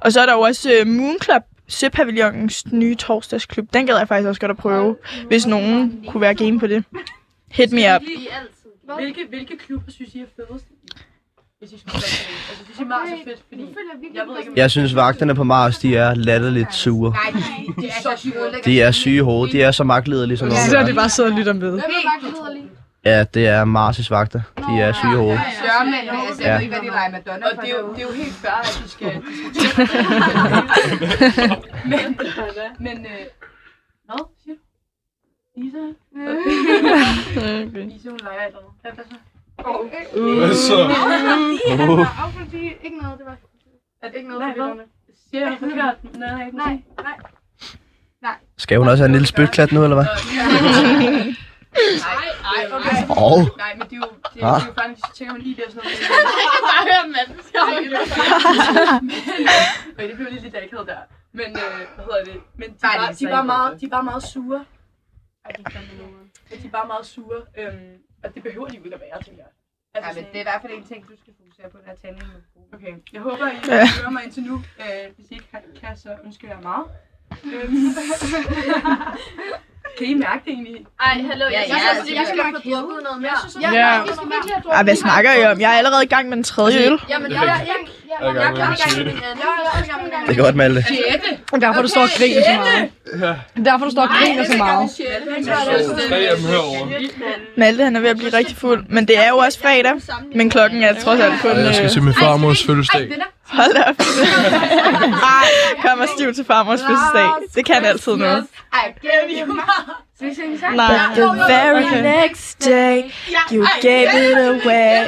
Og så er der jo også øh, Moon Club, Søpaviljonens nye torsdagsklub. Den gad jeg faktisk også godt at prøve, hvis nogen kunne være game på det. Hit me up.
I altid.
Hvilke, hvilke klubber synes I er fedest? Hvis I skulle gøre det. Altså, synes I Mars er fedt, fordi... Jeg ved ikke, om
Jeg synes, vagterne på Mars, de er latterligt sure.
Nej, de- de er så sure.
De er syge i hovedet. De er så magtlederlige, som nogen
Så er
er.
det bare sidder og lytter med.
Hvem er vagtlederlig?
Ja, det er Mars' vagter. De er syge i hovedet.
Sørme, altså, jeg
Ja.
ved ikke, hvad de leger Madonna
Og
for
det er, jo, det
derude.
er jo helt fair, at de skal diskutere det. men, men, øh, hvad siger du? Lisa? Lisa, hun leger et eller andet. Hvad er det så?
Hvad så?
Og fordi ikke noget, det var...
Er det ikke noget, nej, hvad? Siger jeg forkert? Nej, ikke
Nej,
noget.
nej.
Skal hun også have en lille spytklat nu, eller hvad?
Nej, nej, okay.
Åh, oh,
Nej, men det er jo, det,
Ah.
det er jo faktisk, så tænker man lige der sådan noget.
Bare hør manden.
Okay, det blev lidt lidt akavet der. Men, øh, hvad hedder det? Men de,
Nej, det
var, altså
er så
de, var
ikke
meget,
noget.
de var meget sure. Ej, de er fandme nogen. Men de var meget sure. Øhm, og det behøver de jo ikke at være, tænker jeg. Altså,
Nej, men
sådan-
det er i hvert fald en ting, du skal fokusere på, der er tandling med brug.
Okay, jeg håber, I
Ja.
hører mig indtil nu. Øh, hvis I ikke kan- kan, så ønsker jeg meget. Øhm. kan I mærke det egentlig?
Ej, hallo, jeg
Ja,
synes, altså,
ja, altså,
jeg
jeg
skal
kan
få drukket noget mere.
Ja,
Ja.
nej, vi skal virkelig have drukket.
Ah, hvad snakker I om? Jeg er allerede i gang med den tredje øl.
Jamen,
Det
jeg
er
er
rigtigt.
jeg- jeg-
Jeg er i gang
jeg
med
er
at
i gang
sige
med
det.
min anden. Jeg er i gang med min
det er godt, Malte.
Derfor du står og griner så meget. Derfor du står og griner så meget.
Så tre af dem herovre.
Malte, han er ved at blive rigtig fuld, men det er jo også fredag. Men klokken er trods alt kun...
Og jeg skal
Øh,
til min farmors fødselsdag.
hold da op. Ej, kommer stiv til farmors fødselsdag. Det kan altid noget.
Ej, glem det meget. Skal vi synge sammen?
Like the very next day, you gave it away.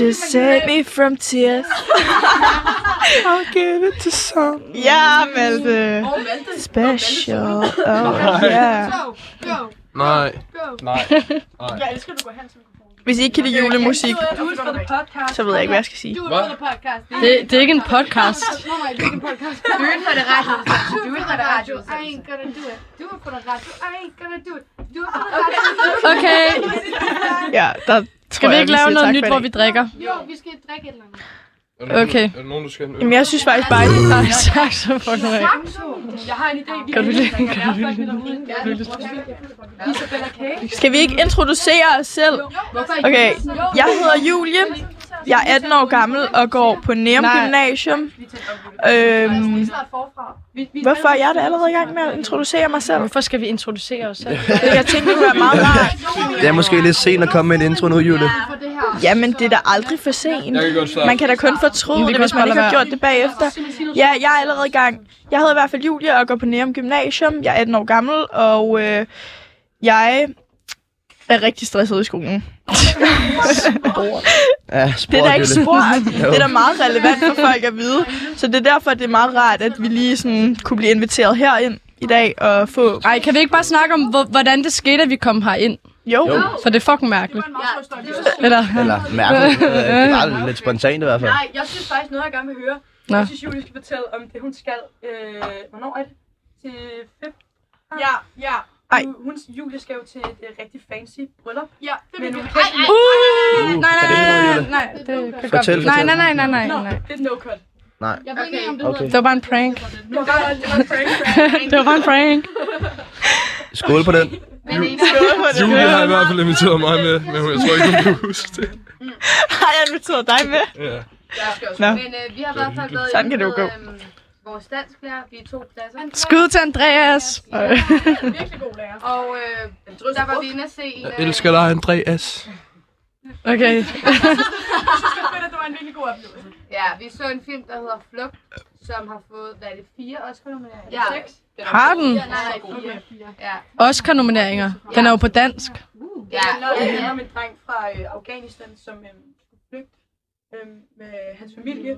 Just save me from tears. I'll give it to some. Ja, Malte.
Hvor Malte?
Special. Oh, yeah.
Nej, nej.
Jeg elsker, at du går hen til mikrofonen.
Hvis I ikke kan lide julemusik,
Du er for the podcast.
så ved jeg ikke, hvad jeg skal sige.
Du er
Hvad?
på podcast.
Det, det er ikke en podcast.
Nå, nej, det er ikke en podcast.
Du er for det radio. Du er for det radio.
I ain't gonna do it. Du er på det radio. I ain't gonna do it. Du er på det radio.
Okay,
Ja, der tror
skal vi
jeg,
ikke lave
siger
noget
tak
nyt,
for i
hvor
dag.
vi drikker?
Jo, vi skal drikke et eller andet.
Er der nogen-
Okay.
Er der nogen, du skal have en øl?
Jamen, jeg synes faktisk bare, at det er nice.
Tak så fucking meget.
Jeg har en idé. Vi
Gør du det?
kan
Gør du det?
Gør du det? Isabella Kage.
Skal vi ikke introducere os selv?
Hvorfor
Okay, jeg hedder Julie. Jeg er 18 år gammel og går på Neum
Nej.
Gymnasium.
Vi tager op på det.
Øhm,
Start forfra.
Vi- vi-
hvorfor er jeg da allerede i gang med at introducere mig selv?
Hvorfor skal vi introducere os selv?
Det jeg tænkte, det var meget rart.
Det er måske lidt sent at komme med en intro nu, Jule.
For det her.
Jamen, det er da aldrig for sent.
Jeg kan godt starte.
Man kan da kun fortryde det, hvis man ikke har gjort det bagefter. Ja, jeg er allerede i gang. Jeg hedder i hvert fald Julie og går på Nærum Gymnasium. Jeg er 18 år gammel, og øh, jeg er rigtig stresset i skolen.
Ja,
Det er da
spor,
ikke
Jule.
spurgt. Det er da meget relevant for folk at vide. Så det er derfor, det er meget rart, at vi lige sådan kunne blive inviteret herind i dag og få...
Ej, kan vi ikke bare snakke om, hvor- hvordan det skete, at vi kom herind?
Jo,
Jo.
For det er fucking mærkeligt. Eller,
Eller mærkeligt. Øh, Det var lidt spontant i hvert fald.
Nej, jeg synes faktisk noget, jeg gerne vil høre.
Nå.
Jeg synes, Julie skal fortælle om det, hun skal. Øh, hvornår er det? Til fem?
Ja, ja.
Ej.
Hun, hun, Julie skal jo til et rigtig fancy bryllup.
Ja, det vil
Men
vi.
hun
Ej,
kan
ej.
Uh, nej, nej,
kan det ikke noget,
nej,
Jule?
nej, det kan godt
Fortæl,
blive- nej,
fortæl.
nej, nej, nej, nej,
Nå,
nej.
det er no cut.
Jeg ved ikke, om det
Okay.
hedder.
Det var bare en prank.
Det var bare det var en prank, prank.
Det var bare en prank.
Skål på den.
Men
øh,
en
Julie har i hvert fald inviteret mig med, men jeg tror ikke, hun kan huske det.
har jeg inviteret dig med?
Ja.
Nå.
Men øh, vi har i hvert fald været
Sådan kan det jo
inde med, øhm, vores dansklærer. Vi er to klasser.
Skud til Andreas. Ej.
virkelig god lærer.
Og øh, der var vi inde at se en
Jeg
af...
elsker dig, Andreas.
Okay.
Men det var en virkelig god oplevelse.
Ja, vi så en film, der hedder Flugt, som har fået, hvad er det, fire Oscar-nomineringer?
Ja.
Seks?
Har den?
Ja, nej, nej, fire. Ja.
Oscar-nomineringer. Den er jo på dansk.
Ja, det handler om en dreng fra øh, Afghanistan, som øhm, skulle flygte øhm, med hans familie.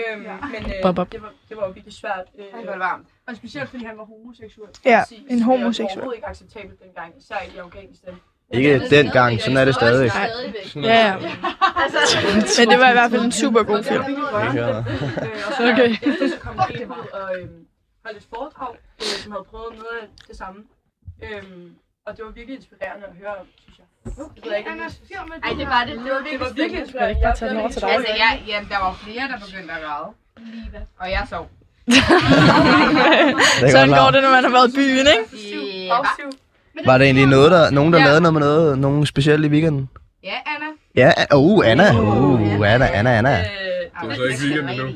Øhm,
Ja.
Men øh,
Bop, bop.
Det, var, det var jo virkelig svært. Øh,
Han var varmt.
Og specielt fordi han var homoseksuel.
Ja,
Præcis. Det
en
var
homoseksuel.
overhovedet ikke acceptabelt dengang, især i Afghanistan.
Ikke dengang, sådan er det stadig.
Ja, ja.
Altså,
Men det var i hvert fald en super god film.
Øh, og så
Okay.
efter så kom han ud og øhm, holdt et foredrag, øh, som havde prøvet noget af det samme. Øhm, og det var virkelig inspirerende at høre om, synes jeg. Det ved jeg ikke, om jeg-
Ej, det var det. Det var
det var
virkelig
virkelig
spændende.
inspirerende.
ikke bare tage den over til dig?
Altså, jeg, jamen, der var flere, der begyndte at græde. Og jeg sov.
Sådan går det, når man har været i byen, ikke?
Ja,
Var der egentlig noget, der, nogen, der lavede noget med noget, nogen specielt i weekenden?
ja Anna.
Ja, An- uh, Anna. Uh, Anna, Anna,
Øh.
Anna.
Det
var så ikke weekend endnu.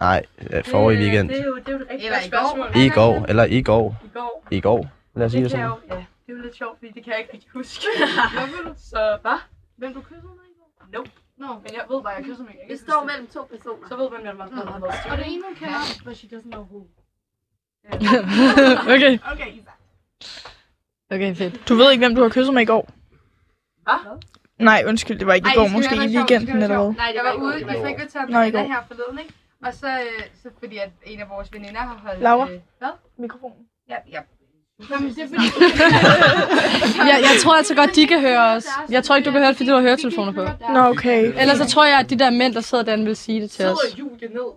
Nej, øh, forrige weekend.
Det er jo, det er jo et rigtig
Eller
godt
i går.
spørgsmål.
I går, eller i går.
I går.
I går. Lad os sige det
kan jeg
sådan.
jo, ja, det er jo lidt sjovt, fordi det kan jeg ikke rigtig huske. så hvad?
Hvem du kyssede med i går?
Nope.
Nå,
Men jeg ved bare, jeg kysser mig. Jeg kan
Det
ikke
står
huske
mellem to personer.
Så ved man, hvem man har været
og det
til.
ene hun kender, but she doesn't know who.
okay.
Okay, Isa.
Okay, fedt.
Du ved ikke, hvem du har kysset med i går?
Hvad?
Nej, undskyld, det var ikke
Ej,
i går,
I skal
måske
høre
i
noget sjovt, I skal
weekenden
høre
eller hvad.
noget
Nej, det
Jeg
var
var
i går,
ude
det
i
var i går.
frikvarteret
Nå, i
med Anna
går.
her forleden, ikke? Og så, øh, så fordi at en af vores veninder har holdt...
Laura?
øh, Hvad?
Mikrofonen.
Ja, ja.
Jamen, det er fordi...
Jeg, jeg tror altså godt, de kan høre os. Jeg tror ikke, du kan høre det, fordi du har høretelefoner på.
Nå, okay.
Ellers så tror jeg, at de der mænd, der sidder derinde, vil sige det til os.
Sidder Julie ned.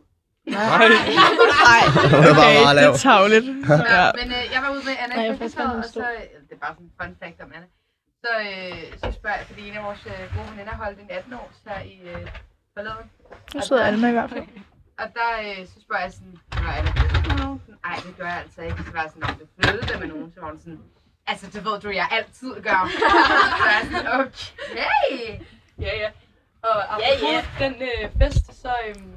Det var meget
Okay, det
lavt.
er tavligt.
Ja.
Ja.
Men øh, jeg var ude med Anna
Nej,
i
jeg får
frikvarteret,
spændt
og så... øh, Det er bare sådan en fun fact om Anna. Så, øh, så spørger jeg, fordi en af vores øh, gode veninder holdt en 18-års her i øh, forleden.
Nu sidder Alma i hvert fald.
Og der, øh, så spørger jeg sådan, når Anna gør sådan noget, sådan, ej, det gør jeg altså ikke. Så var jeg sådan, om du flyttede det med nogen, så var hun sådan, altså, det ved du, jeg altid gør. så er jeg sådan, okay.
Ja, ja. Og apropos
Ja,
den øh, fest, så øhm,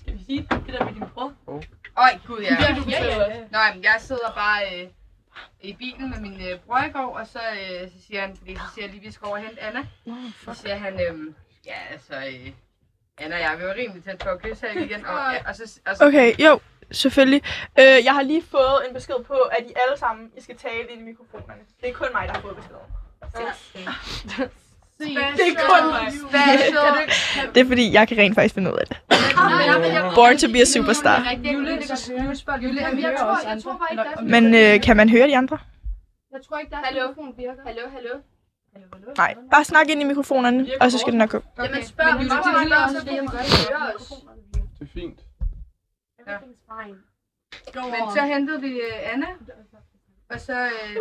skal vi sige det der med din bror.
Øj, gud, ja.
Ja, du fortæller os.
Nå, jamen, jeg sidder bare øh, i bilen med min øh, bror i går, og så, øh, så siger han, fordi så siger jeg lige, vi skal over og hente Anna. Så siger han, øh, ja, altså, øh, Anna og jeg, vi var rimelig tæt på at kysse her igen, og, ja, og så... Og så
Okay, jo, selvfølgelig. Øh, jeg har lige fået en besked på, at I alle sammen I skal tale ind i mikrofonerne. Det er kun mig, der har fået beskeden.
Det
er kun mig.
Special.
Det er fordi, jeg kan rent faktisk finde ud af det. Born to be a superstar.
Jule, det kan høre. Jule,
Jamen,
jeg
jeg
tror,
tror-
jeg tror bare ikke, der
Men øh, kan man høre de andre?
Jeg tror ikke, der er
Hallo?
telefon virker.
Hallo, hallo.
Nej, bare snak ind i mikrofonerne, og så skal den nok gå.
Jamen spørg,
Men
men
Jule,
spørg,
det
spørg,
lyder
spørg,
også,
så kan
det
man
er
godt høre os.
Det er fint.
Everything's fine. Go
Men
on.
så hentede vi øh, Anna, og så... Øh,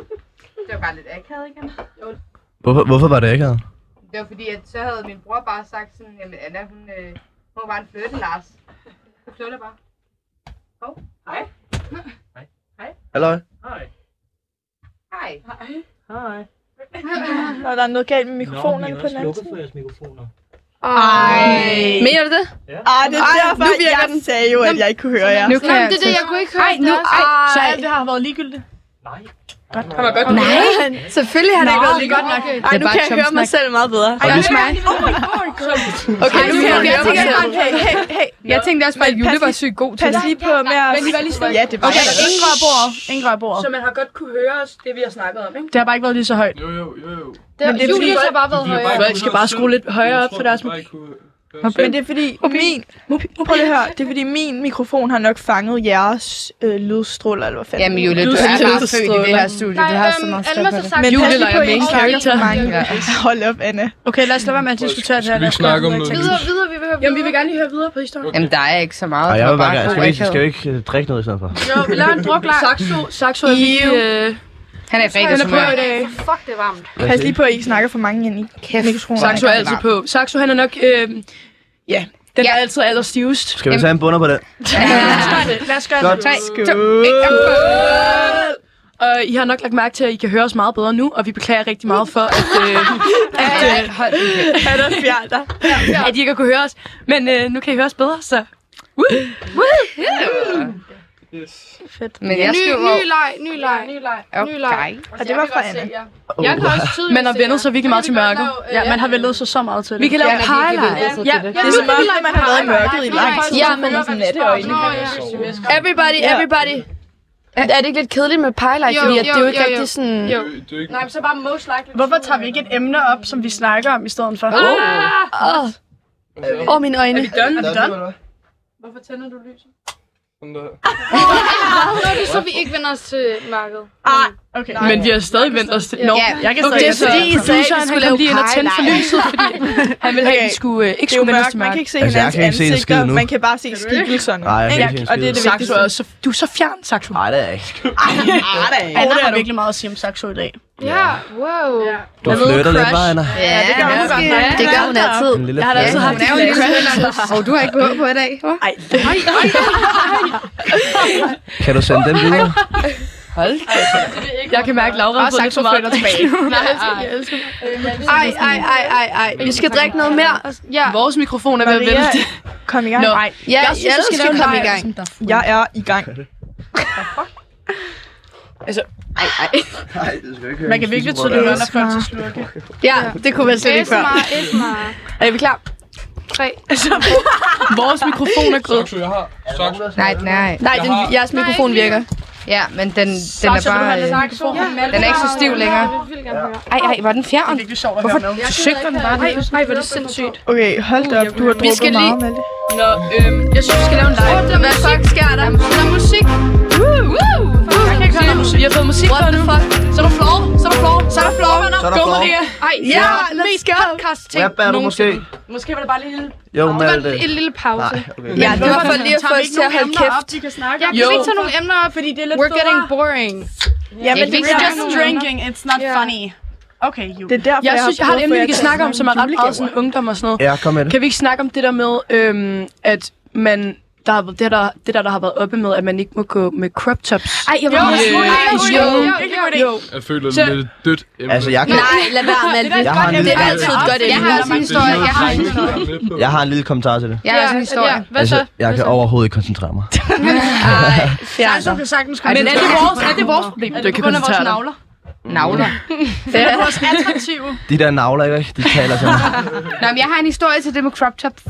det var bare lidt akavet igen.
Hvorfor, hvorfor var det ikke her?
Det var fordi, at så havde min bror bare sagt sådan, jamen Anna, hun, øh, hun var en flytte, Lars. Så flytter bare.
Halløj?
Hej.
Hej.
Nå, der er noget galt med mikrofonerne
Nå,
på den anden
lukket
side.
for jeres mikrofoner.
Ej. Mener du det?
Ah, det er derfor, nu jeg den. sagde jo, at jeg ikke kunne høre jer.
Nu kan
Nå,
jeg altså-
men det er det, jeg kunne ikke høre.
Ej, nu, ej,
så
så
alt det her har været ligegyldigt.
Nej.
Han var godt med.
Nej, selvfølgelig har det ikke været lige godt nok.
Ej, nu kan jeg høre mig selv meget bedre.
Ej, også mig.
Okay,
Ej,
nu
nu
kan jeg
kan jeg
høre mig
tænke,
selv.
at
Hey, hey, hey.
Jeg tænkte også bare, at Jule var sygt god til
Pas
det.
lige på med at...
Men I var lige stille.
Ja, det var
Okay, ingen rør bordet. Ingen rør bordet.
Så man har godt kunne høre os, det vi har snakket om, ikke?
Det har bare ikke været lige så højt.
Jo, jo, jo, jo.
Det,
Men det er fordi,
Julius har bare været
bliver
højere.
bare
Folk skal bare skrue lidt højere op for deres...
Men det er fordi min... Prøv lige at høre. Det er fordi min mikrofon har nok fanget jeres øh, lydstråler, eller hvad fanden.
Jamen Jule,
det
du
er.
er bare født i
stråler.
det her studie.
Nej,
det har så
øhm,
meget
Alma så
stop på det.
sagt...
Men
Julie
pas lige
leger
på, at I ikke snakker
main
for
character.
mange.
Ja.
Hold op, Anna.
Okay, lad os lade være med at diskutere det her.
Skal vi ikke snakke om noget?
Videre, videre, vi vil høre
Jamen, vi vil gerne lige høre videre på historien.
Jamen, der er ikke så meget.
Ej, jeg vil
Tobak
bare gerne.
og
Skal vi ikke,
akavet.
skal vi ikke øh, drikke noget i stedet for?
Jo, vi laver en druklar.
Saxo, Saxo er lige... Øh,
Han er i fredags
på i dag. Fuck, det er varmt.
Lad os
Pas
se.
lige på, at I ikke snakker for mange ind i mikrofonen.
Saxo er altid på. Saxo, han er nok... Øh, ja, den
Ja.
er altid allerstivest.
Skal vi tage en bunder på den?
Lad
Altså,
os gøre
Godt.
det. Og I har nok lagt mærke til, at I kan høre os meget bedre nu, og vi beklager rigtig meget for, at, øh, at, øh,
Er der fjern der?
at I ikke har kunne høre os. Men øh, nu kan I høre os bedre, så...
Yes.
Fedt.
Men jeg
Ny-
skriver...
ny leg, ny leg.
ny leg.
Okay.
Ny leg.
Og det var fra Anna.
Jeg kan også tydeligt
Man har
se jer.
vendet sig virkelig meget til mørket.
øh,
Ja, man har vendet sig så meget til det.
Vi kan lave Ja, parlej. vi kan vælge sig
Ja,
til det.
det er så
Ja,
meget,
vi
at
kan
man har været i
lave
mørket i lang tid.
Ja, men sådan er det jo egentlig.
Everybody, everybody. Er det ikke lidt kedeligt med pejlej,
Jo,
fordi at det er jo
jo,
ikke
jo, jo.
rigtig sådan...
Jo.
Nej, men så bare most likely.
Hvorfor tager vi ikke et emne op, som vi snakker om i stedet for?
Åh.
Åh, Åh, mine øjne. Er vi done? Er vi done?
Hvorfor tænder du lyset?
Sådan der.
Nå, det er så, vi ikke vender os til markedet.
Ah, okay. Men vi har stadig vendt os til... Nå,
Ja.
jeg kan
Okay,
stadig...
så det er fordi, I sagde,
Produceren,
vi
han kom
skulle lave
lige ind og tændte for
pejlej.
lyset, fordi han ville have, at vi skulle, øh, ikke
Det er jo
skulle vende os til
mørkt, man
mørket.
kan ikke se hinandens altså,
ikke se en skid
ansigter,
nu.
man kan bare se skikkelserne.
Nej, jeg kan
Ikke?
ikke se en
Og det er det
skid.
vigtigste.
Saxo er så, du er så fjern, Saxo.
Nej, det er jeg ikke.
Ah,
Anna har virkelig meget at sige om Saxo i dag.
Ja, wow. Ja.
Du flytter lidt, bare, Anna.
Ja, det gør hun godt nok. Det gør hun altid.
En lille Jeg har da altid haft
en lille crush. Og du har ikke gået på i dag, hva'?
Ej,
nej,
Kan du sende den videre?
Hold Jeg kan mærke, at Laura har fået lidt for meget tilbage.
jeg elsker Ej, ej, ej, ej, ej. Vi skal drikke noget mere. Ja.
Vores mikrofon er ved at
Maria,
vælte.
Kom i gang.
Nå.
Ja,
jeg synes,
jeg
du skal,
skal
lave en
komme
leg.
i gang.
Jeg er i gang.
Altså,
ej, ej.
Man kan virkelig tydeligt høre, når folk tager slurke.
Ja,
det kunne man slet ikke før.
Er vi klar? 3.
Vores mikrofon er grød.
Nej, nej.
Nej, den- Jeg har- jeres mikrofon virker.
Ja, men den, den er
Saxo, vil du
bare...
have lidt
øh,
mikrofon? Ja.
Den er ikke så stiv længere. Ej, ej, var den fjern? Hvorfor
høre med. Jeg
søgte den bare?
Ej, ej, hvor er det sindssygt.
Okay, hold da op. Du har
Vi skal
drukket
lige-
meget, Malte.
Nå, øhm, jeg synes, vi skal lave en live.
Åh, der er musik, sker der. Der er musik. Woo, woo.
Jeg kan ikke høre noget musik. Jeg har fået musik på nu. Så er der floor, så er der floor, så er der floor, venner.
Så er der
Go,
floor.
Maria.
Ej,
ja,
ja,
mest podcast ting
Rap er du måske?
Måske var det bare lige en lille...
Jo,
Det
Malte.
var en lille pause.
Nej, okay.
Ja, det var for lige at
Tager
få
vi
os
ikke
til
nogen
at holde
emner
kæft.
op, de kan snakke
Ja,
om?
kan vi
Jo.
ikke tage nogle emner op, fordi det er
lidt
We're getting
federe.
boring.
Ja, men
vi
det
skal
er
have
just
nogle
drinking, it's not funny. Okay, you.
Det er derfor,
jeg,
jeg har
synes, jeg har et
prøvet
emne,
for
vi
jer
kan
til at
snakke om,
snakke
som er
om
ret meget sådan ungdom og sådan noget.
Ja, kom med det.
Kan vi ikke snakke om det der med, øhm, at man der, har- det, der, det der, der har været oppe med, at man ikke må gå med crop tops.
Ej, jeg var
i,
lige-
øh,
Ej,
i
jo,
skolen.
jo, jo, jo, jo.
Jeg føler
Så-
det er lidt dødt emne.
Altså, jeg kan...
Nej, lad være med alt det.
Jeg har en
Det
lille,
er altid et godt emne. Jeg har også en historie. Jeg har en historie.
jeg har en lille kommentar til det.
Jeg har også en historie.
Altså, jeg kan overhovedet ikke koncentrere mig.
Ja, så kan sagtens
komme
Men er
til
det
at-
vores, er det vores problem?
Er det
Du kan
på grund af vores
koncentrere dig.
navler? Navler.
Det er vores attraktive.
De der navler, ikke? De taler til mig.
Nå, men jeg har en historie til det med crop tops.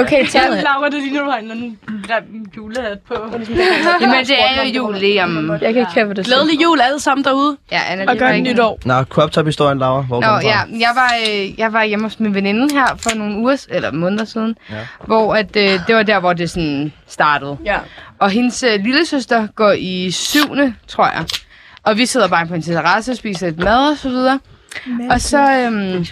Okay, tag
Jamen,
det.
Laura, det ligner, du har en eller anden grim julehat på.
Jamen, det er jo jul lige om... Jeg kan ikke høre, hvad det
Glædelig jul alle sammen derude.
Ja, Anna,
Og godt nytår.
Nå, crop top-historien, Laura. Hvor
Nå,
kom
ja,
ja.
jeg var, øh, jeg var hjemme hos min veninde her for nogle uger, eller måneder siden,
Ja.
ja. hvor at, øh, det var der, hvor det sådan startede.
Ja.
Og hendes øh, lillesøster går i syvende, tror jeg. Og vi sidder bare på en terrasse og spiser lidt mad og så videre. Og så, øhm,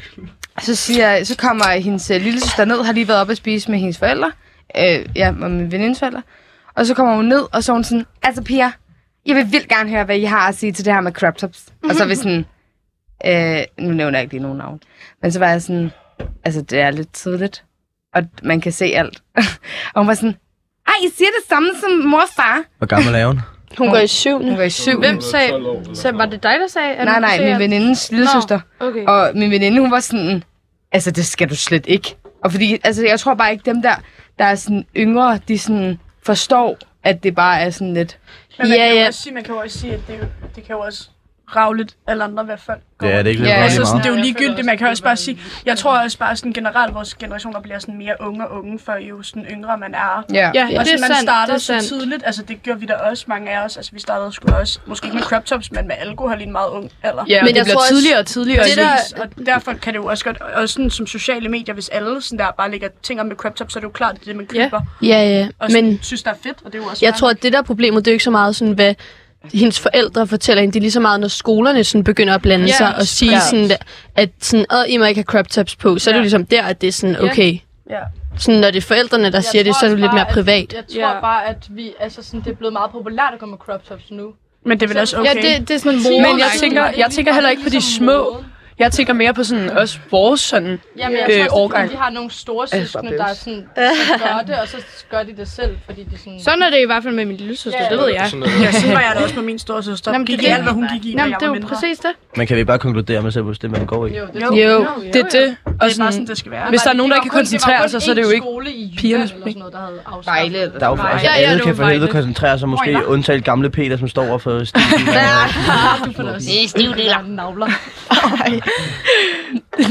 så, siger, så kommer hendes øh, lillesøster ned, har lige været op og spise med hendes forældre. Øh, ja, og min venindes forældre. Og så kommer hun ned, og så er hun sådan, altså piger, jeg vil vildt gerne høre, hvad I har at sige til det her med crop tops. Og så er vi sådan, øh, nu nævner jeg ikke lige nogen navn. Men så var jeg sådan, altså det er lidt tidligt, og man kan se alt. og hun var sådan, ej, I siger det samme som mor og far.
Hvor gammel er hun?
Hun går i syvende. Hun går i syvende.
Hvem sagde, sagde, var det dig, der sagde? at
Nej,
hun
nej,
sagde,
min
at-
venindes lille søster.
Nå, okay.
Og min veninde, hun var sådan, altså det skal du slet ikke. Og fordi, altså jeg tror bare ikke dem der, der er sådan yngre, de sådan forstår, at det bare er sådan lidt...
Men man,
Ja,
kan jo
ja.
Også sige, man kan jo også sige, at det, jo- det kan jo også rave lidt alle andre, hvad folk
Ja, det er ikke lidt
Ja,
ja,
altså, sådan, det
meget.
er jo ligegyldigt. Man kan også bare sige, jeg tror også bare sådan generelt, vores generationer bliver sådan mere unge og unge, for jo sådan yngre man er.
Ja.
Ja,
og
det er
sådan, man
sandt,
starter
det er
så
sandt.
tidligt. Altså, det gjorde vi da også, mange af os. Altså, vi startede sgu også, måske ikke med crop tops, men med alkohol i en meget ung alder.
Ja, Men det jeg bliver tror også- tidligere og tidligere.
Det
Præcis.
der, og derfor kan det jo også godt, og sådan som sociale medier, hvis alle sådan der bare lægger ting op med crop tops, så er det jo klart, at det er det, man køber.
Ja, ja,
Og sådan,
men-
synes, der er fedt, og det er jo også
Jeg
fair
tror,
nok.
at det der er problemet, det er jo ikke så meget sådan, hvad hendes forældre fortæller hende. Det er lige så meget, når skolerne sådan begynder at blande
Ja,
sig og sige,
ja.
sådan, der- at sådan, at I må ikke have crop tops på. Så er det jo ligesom der, at det er sådan, okay.
Ja.
Sådan, når det er forældrene, der
Jeg
siger det,
tror
så er det
også
lidt mere
bare, at-
privat.
Jeg tror bare, at vi, altså sådan, det er blevet meget populært at gå med crop tops nu.
Men det er vel også okay.
Ja, det, det er sådan
mor-
Men jeg
Nej,
tænker,
det er
jeg tænker heller ikke på de
ligesom
små. Jeg tænker mere på sådan også vores sådan
Ja, men jeg
øh,
tror også,
årgang.
fordi de har nogle store
bare
søskende, der er
pisse.
sådan, så gør det, og så gør de det selv, fordi de sådan...
Sådan er det i hvert fald med min lille søster,
Ja,
det ved jeg.
Ja, sådan var jeg da også med min store søster.
Nå, men
Gik
det
i
er
alt, hvad
det.
hun gik i, da
Nå, men
jeg
det er
var
jo
mindre.
præcis det.
Men kan vi ikke bare konkludere med selvbus, det man går i?
det
Jo, jo, det er det. Og
bare
sådan,
sådan, det skal være.
Hvis der
Var
er
det-
nogen,
det
der
var
ikke
kun-
kan
det var
koncentrere
kun
sig, så er det jo
én
ikke
skole i Jylland
pigernes
eller
problem.
Vejle.
Der er jo faktisk
Ja, ja,
alle
det
kan
var
for helvede
Vejle.
koncentrere sig måske, undtagen gamle Peter, som står og får stiv.
du får da også. Det er stivdeler. Navler.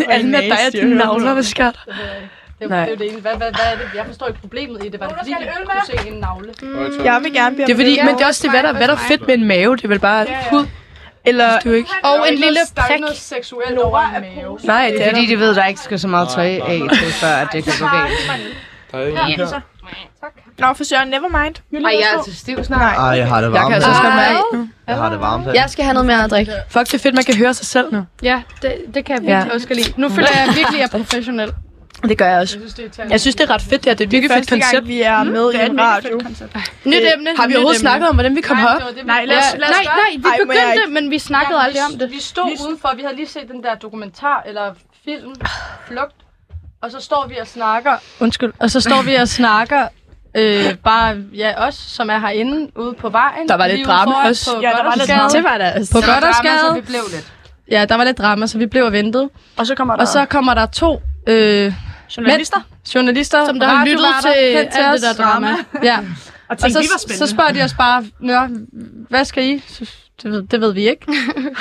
Alma, dig og dine navler, hvad sker der?
Det
Nej.
er jo det ene. Hvad, hvad, hvad er det? Jeg forstår ikke problemet i det. Var det fordi, du kunne se en navle?
Jeg vil gerne blive
Det er fordi, men det er også det, hvad der, hvad der er fedt med en mave. Det er vel bare hud. Eller, du ikke.
Og en lille prik. Der er ikke noget seksuelt over en mave.
Nej,
det er fordi, de ved, der ikke skal så meget tøj af til, før at det kan gå galt.
Ja, så. Nå, for søren, never mind.
Ej, jeg er altså stiv snart.
Ej, jeg har det varmt.
Jeg kan altså også godt mærke.
Jeg har det varmt.
Jeg skal have noget mere at drikke.
Fuck, det er fedt, man kan høre sig selv nu.
Ja, det, det kan jeg virkelig
Ja.
også godt lide. Nu føler jeg virkelig, at jeg er professionel.
Det gør jeg også. Jeg synes, det er ret fedt, det her. Det er et virkelig fedt
Første gang,
koncept.
vi er med i en radio.
Nyt
Det-
emne.
Har vi overhovedet
nyt emne.
snakket om, hvordan vi kom
Nej,
herop?
det var det, vi-
Nej, lad os, lad os nej,
gøre
nej,
det. Ej, må
vi
jeg
begyndte,
ikke-
men vi snakkede aldrig om det.
Vi stod udenfor, vi havde lige set den der dokumentar, eller film, Flugt, og så står vi og snakker,
Undskyld.
og så står vi og snakker, øh, bare ja, os, som er herinde ude på vejen.
Der var lidt
Lige ude
drama
foran
også.
På
Ja, der var lidt drama. Det var der altså. På
Der var drama,
Goddersgade.
så vi blev lidt.
Ja, der var lidt drama, så vi blev og ventede.
Og så kommer
Og så kommer der to øh,
Journalister.
Mænd, journalister,
Som der har lyttet
radioværter,
til
kendt
alt
os.
det der drama.
Ja.
Og tænkt,
så,
vi var spændende.
så spørger de os bare, Nå, hvad skal I? Så, det, ved, det ved vi ikke. Så,
Jamen,
Jamen,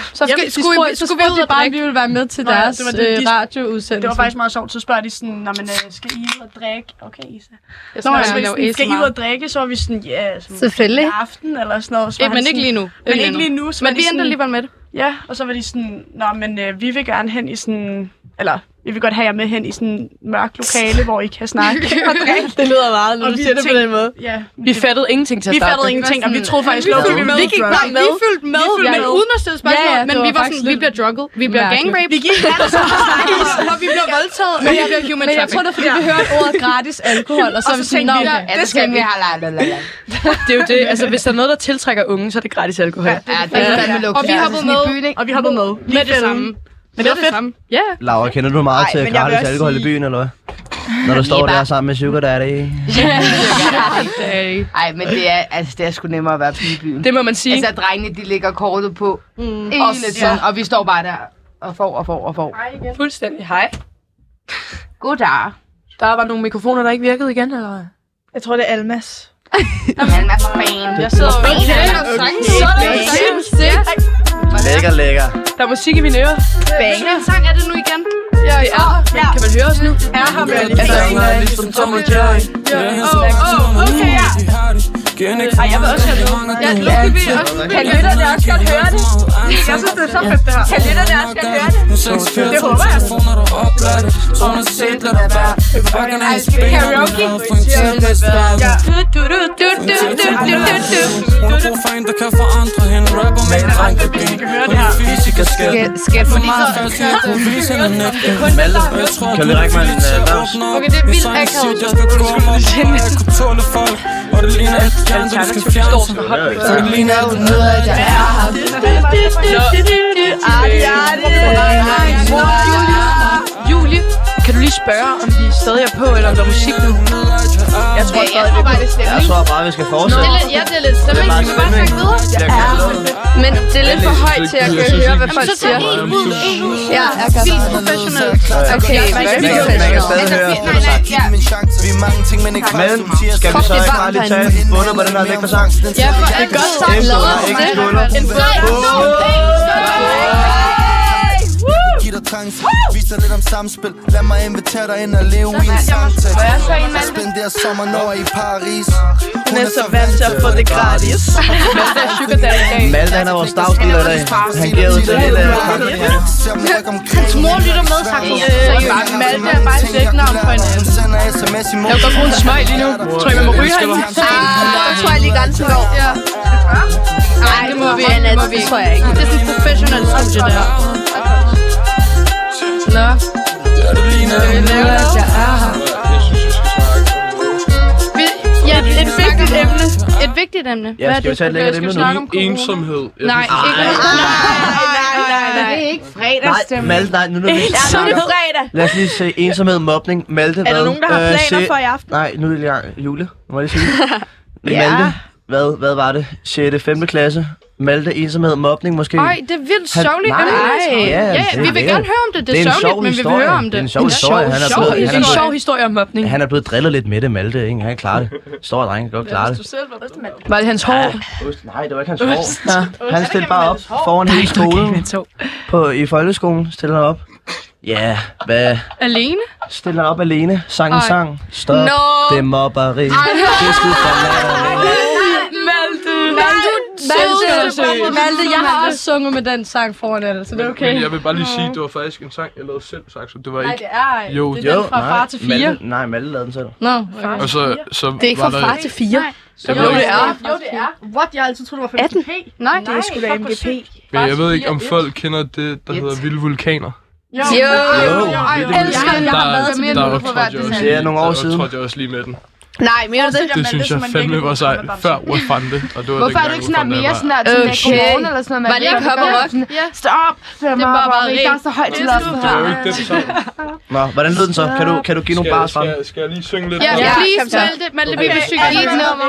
de
skulle,
spurgte-
skulle, så
de
spurgte
spurgte
de bare,
drikke.
om vi ville være med til
Nå ja,
deres
det var det,
øh,
de-
radioudsendelse.
Det var faktisk meget sjovt. Så spørger de sådan, Nå, men, øh, skal I ud og drikke? Okay, Isa.
Jeg
Nå,
snakker
altså,
om
hvis
at lave
sådan, skal I
ASMR.
ud og drikke, så var vi sådan, ja, sådan,
Selvfølgelig.
i aften eller sådan noget. Så var
Ja,
han
men ikke
sådan,
lige nu.
Men
Ikke
ikke
lige
lige
nu.
nu. Så
Men
var de
vi endte
sådan-
alligevel med det.
Ja, og så var de sådan, nå, men øh, vi vil gerne hen i sådan, eller vi vil godt have jer med hen i sådan en mørk lokale, hvor I kan snakke og drikke.
Det lyder meget, når
Og
du
vi
siger det på
tænkte-
den måde.
Ja.
Vi fattede ingenting til at
Vi
starte
fattede
med.
ingenting, og vi
Sådan-
troede faktisk,
Ja,
at vi
vi
var
Vi gik bare med.
Vi fulgte med,
fulgte
men
med.
uden at stille spørgsmål.
Ja, ja, det
men
var
vi var
faktisk
sådan, vi
lidt
bliver drugget, vi bliver
mærkeligt.
gangraped.
Vi gik
alt
og snakkede, og vi bliver voldtaget, og vi bliver human
Men jeg tror, det er, fordi vi hørte ordet gratis alkohol, og så
Og
er
så
vi sådan,
tænkte
"Nå,
vi,
okay."
ja, det skal vi. Det er jo det. Altså, hvis der er noget, der tiltrækker unge, så er det gratis alkohol. Ja,
det er fandme luksus.
Og vi
Altså,
har
sådan i
med.
byen, ikke?
Og vi hoppede med.
Med det samme.
Men det var fedt.
Ja.
Laura, kender du meget
Ej, men
til
jeg vil
gratis
også
alkohol i byen, eller hvad? Når du står der sammen med Sugar Daddy.
Ej, men det er, altså, det er sgu nemmere at være pige i byen.
Det må man sige.
Altså, drengene, de ligger kortet på. Mm.
Og
Og, sådan, og vi står bare der og får og får og får.
Fuldstændig. Hej.
Goddag.
Der var nogle mikrofoner, der ikke virkede igen, eller hvad?
Jeg tror, det er Almas.
Almas fan.
Jeg sidder
Okay.
okay.
Lækker, lækker.
Der er musik i mine ører.
Hvilken sang er det nu igen?
Ja, ja. Men kan man høre os nu?
Ja, har vi
Altså,
Okay, ja. Ej, jeg vil også have noget. Ja, nu skal vi også... Kan lytterne også godt høre det? Jeg synes, det er så fedt, det her. Kan lytterne også godt høre det? Det håber jeg. Karaoke? Ja.
Skal, skal jeg få lige så...
Kan vi række mig en øh, bams?
Okay, det er vildt akavet.
Julie, kan du lige spørge, om vi stadig er på, eller om der er musik nu? Jeg tror stadig, vi er på.
Jeg tror bare, vi skal fortsætte.
Det er lidt, ja, det er lidt stemming. Skal vi bare snakke videre? Men det er lidt for højt til at kunne høre, hvad folk siger. Ja, jeg kan Vildt professionel. Okay,
Man kan, man kan stadig høre.
Vi er mange ting, men ikke
Men skal vi så ikke bare lige tage en bundet på den her lækre sang?
Ja, for det er godt sagt.
Ikke
Lavet
skulder,
til
ikke
det.
skulder.
En fred.
Giv dig trance, vis dig lidt om samspil Lad mig invitere dig ind og leve i en
mand.
samtale
Må jeg så i Malmø?
Spænd der sommer, når I er i Paris Hun
Næste vant til at få det gratis.
Malte er sugar daddy i dag.
Malte, han er vores dagsdealer i dag. Han giver ud til hele øh, Frankrig.
Hans mor lytter med, faktisk. Seriøst. Malte er bare et dæknavn for en anden.
Jeg vil godt bruge en smøg lige nu. Tror jeg, man må ryge herinde?
Ah, tror jeg lige grænsen går. Ja. Nej, det må vi ikke. Det må vi tror jeg ikke. Det er sådan et professionelt studie, det her. Nå. Skal vi lave det? Jeg er her. Vi- Ja, et vigtigt emne. Et vigtigt emne.
Ja, skal
er
vi
det
tage et
for-
lækkert
skal
emne
vi
nu?
snakke om corona?
Ensomhed. Jeg
Nej,
synes,
ikke
det er-
Nej, det er ikke
Nej,
fredagsstemme.
Malte, nej, nu er det
Ja,
Så er det fredag.
Lad os lige se ensomhed, mobning, Malte, hvad?
der nogen, der har
Øh,
planer
se-
for i aften?
Nej, nu er det lige gang. Jule, må jeg lige sige det?
Ja.
Malte, hvad, hvad var det? 6. 5. klasse? Malte, ensomhed, mobning måske?
Ej, det er vildt
Han-
sørgeligt.
Nej,
emne.
ja,
ja, ja,
det
vi
er
vil
det.
gerne høre om det. Det er,
Det er en sjov
sørgeligt, men vi vil
historie.
høre om
Det er
det.
en sjov historie. Han er blevet-
Det er
han
en
er-
sjov historie om mobning.
Han er blevet drillet lidt med det, Malte, ikke? Han klarer det. Står dreng, kan godt klare det.
selv var bedste mand.
Var det hans hår?
Ost, nej, det var ikke hans
Ost. Nå.
hår. Han
Hvordan
stillede
kan man
bare op
hans hår?
foran
Der er
hele
ikke noget galt med
skolen.
hans hår.
På, I folkeskolen stillede han op. Ja, hvad?
Alene?
Stiller han op alene. Sang en
Ej.
sang. Stop.
Nå.
Det er mobberi. Det
nej.
er skud for
Malte.
Malte,
Malte,
Malte, Malte, jeg har også sunget med den sang foran alle, så det er okay.
Men jeg vil bare lige sige, at det var faktisk en sang, jeg lavede selv, sagt, så det var
Nej,
ikke...
det er ej.
Jo,
Det er den fra
nej.
far til fire.
Malte, nej, Malte lavede den selv.
Nå,
okay. Og så, så
Det er ikke
var
fra
der-
far til fire.
Så Jo, det er.
Jo, det er. What? Jeg har altid troet, det var 15 p. Nej,
Det er sgu da
fuck, hvor
MGP.
sygt.
Men jeg ved ikke, om folk kender det, der hedder vilde vulkaner.
Jo,
Jo.
jo, jo.
Ej,
jeg elsker, at jeg har været til
der,
mere
der
end på hvert
trådte jeg også
design.
lige-
Det er nogle år
der
siden.
trådte jeg også lige med den.
Nej, men jeg ved
Det synes
ligesom,
jeg fandme var sejt, før Wafande. Og det var
Hvorfor er du
dengang
ikke snart
Wafande
mere
var-
sådan der, sådan der
Okay.
corona eller sådan noget?
Var det ikke Hop og Voksen?
Ja. Stop! Det er
Det er
bare
bare
bare Der er så højt til loftet
Det
her.
var jo ikke den sang.
Nå, hvordan lød den så? Kan du, kan du give nogle bars frem?
Skal, skal jeg lige synge lidt?
Ja,
om-
please,
kom så.
Malte. Malte, vi
Okay.
vil synge
Okay.
dit nummer.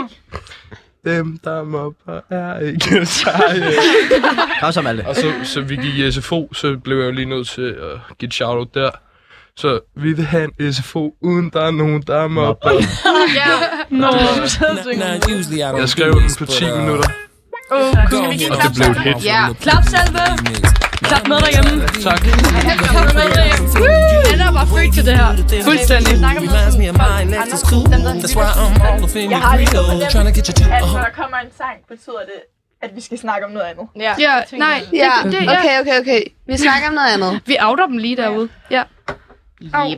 Dem, der mobber, er ikke seje.
Kom så, Malte.
Og så, så vi gik i SFO, så blev jeg jo lige nødt til at give et shout-out der. Så vi vil have en SFO, uden der er nogen, der er mobber.
Ja. Nå, du sad og synger.
Jeg skrev den på 10 minutter. Og det blev et hit.
Ja. Klap salve. Klap med derhjemme.
Tak.
Klap med derhjemme. Han er bare født til det her. Fuldstændig.
Jeg har lige fået fornemt, at Altså, når der kommer en sang, betyder det, at vi skal snakke om noget andet.
Ja,
Ja,
det tænker
nej.
jeg.
Ja,
Det- det- ja.
okay, okay, okay. Vi snakker om noget andet.
Vi outer dem lige derude. Ja.
Au,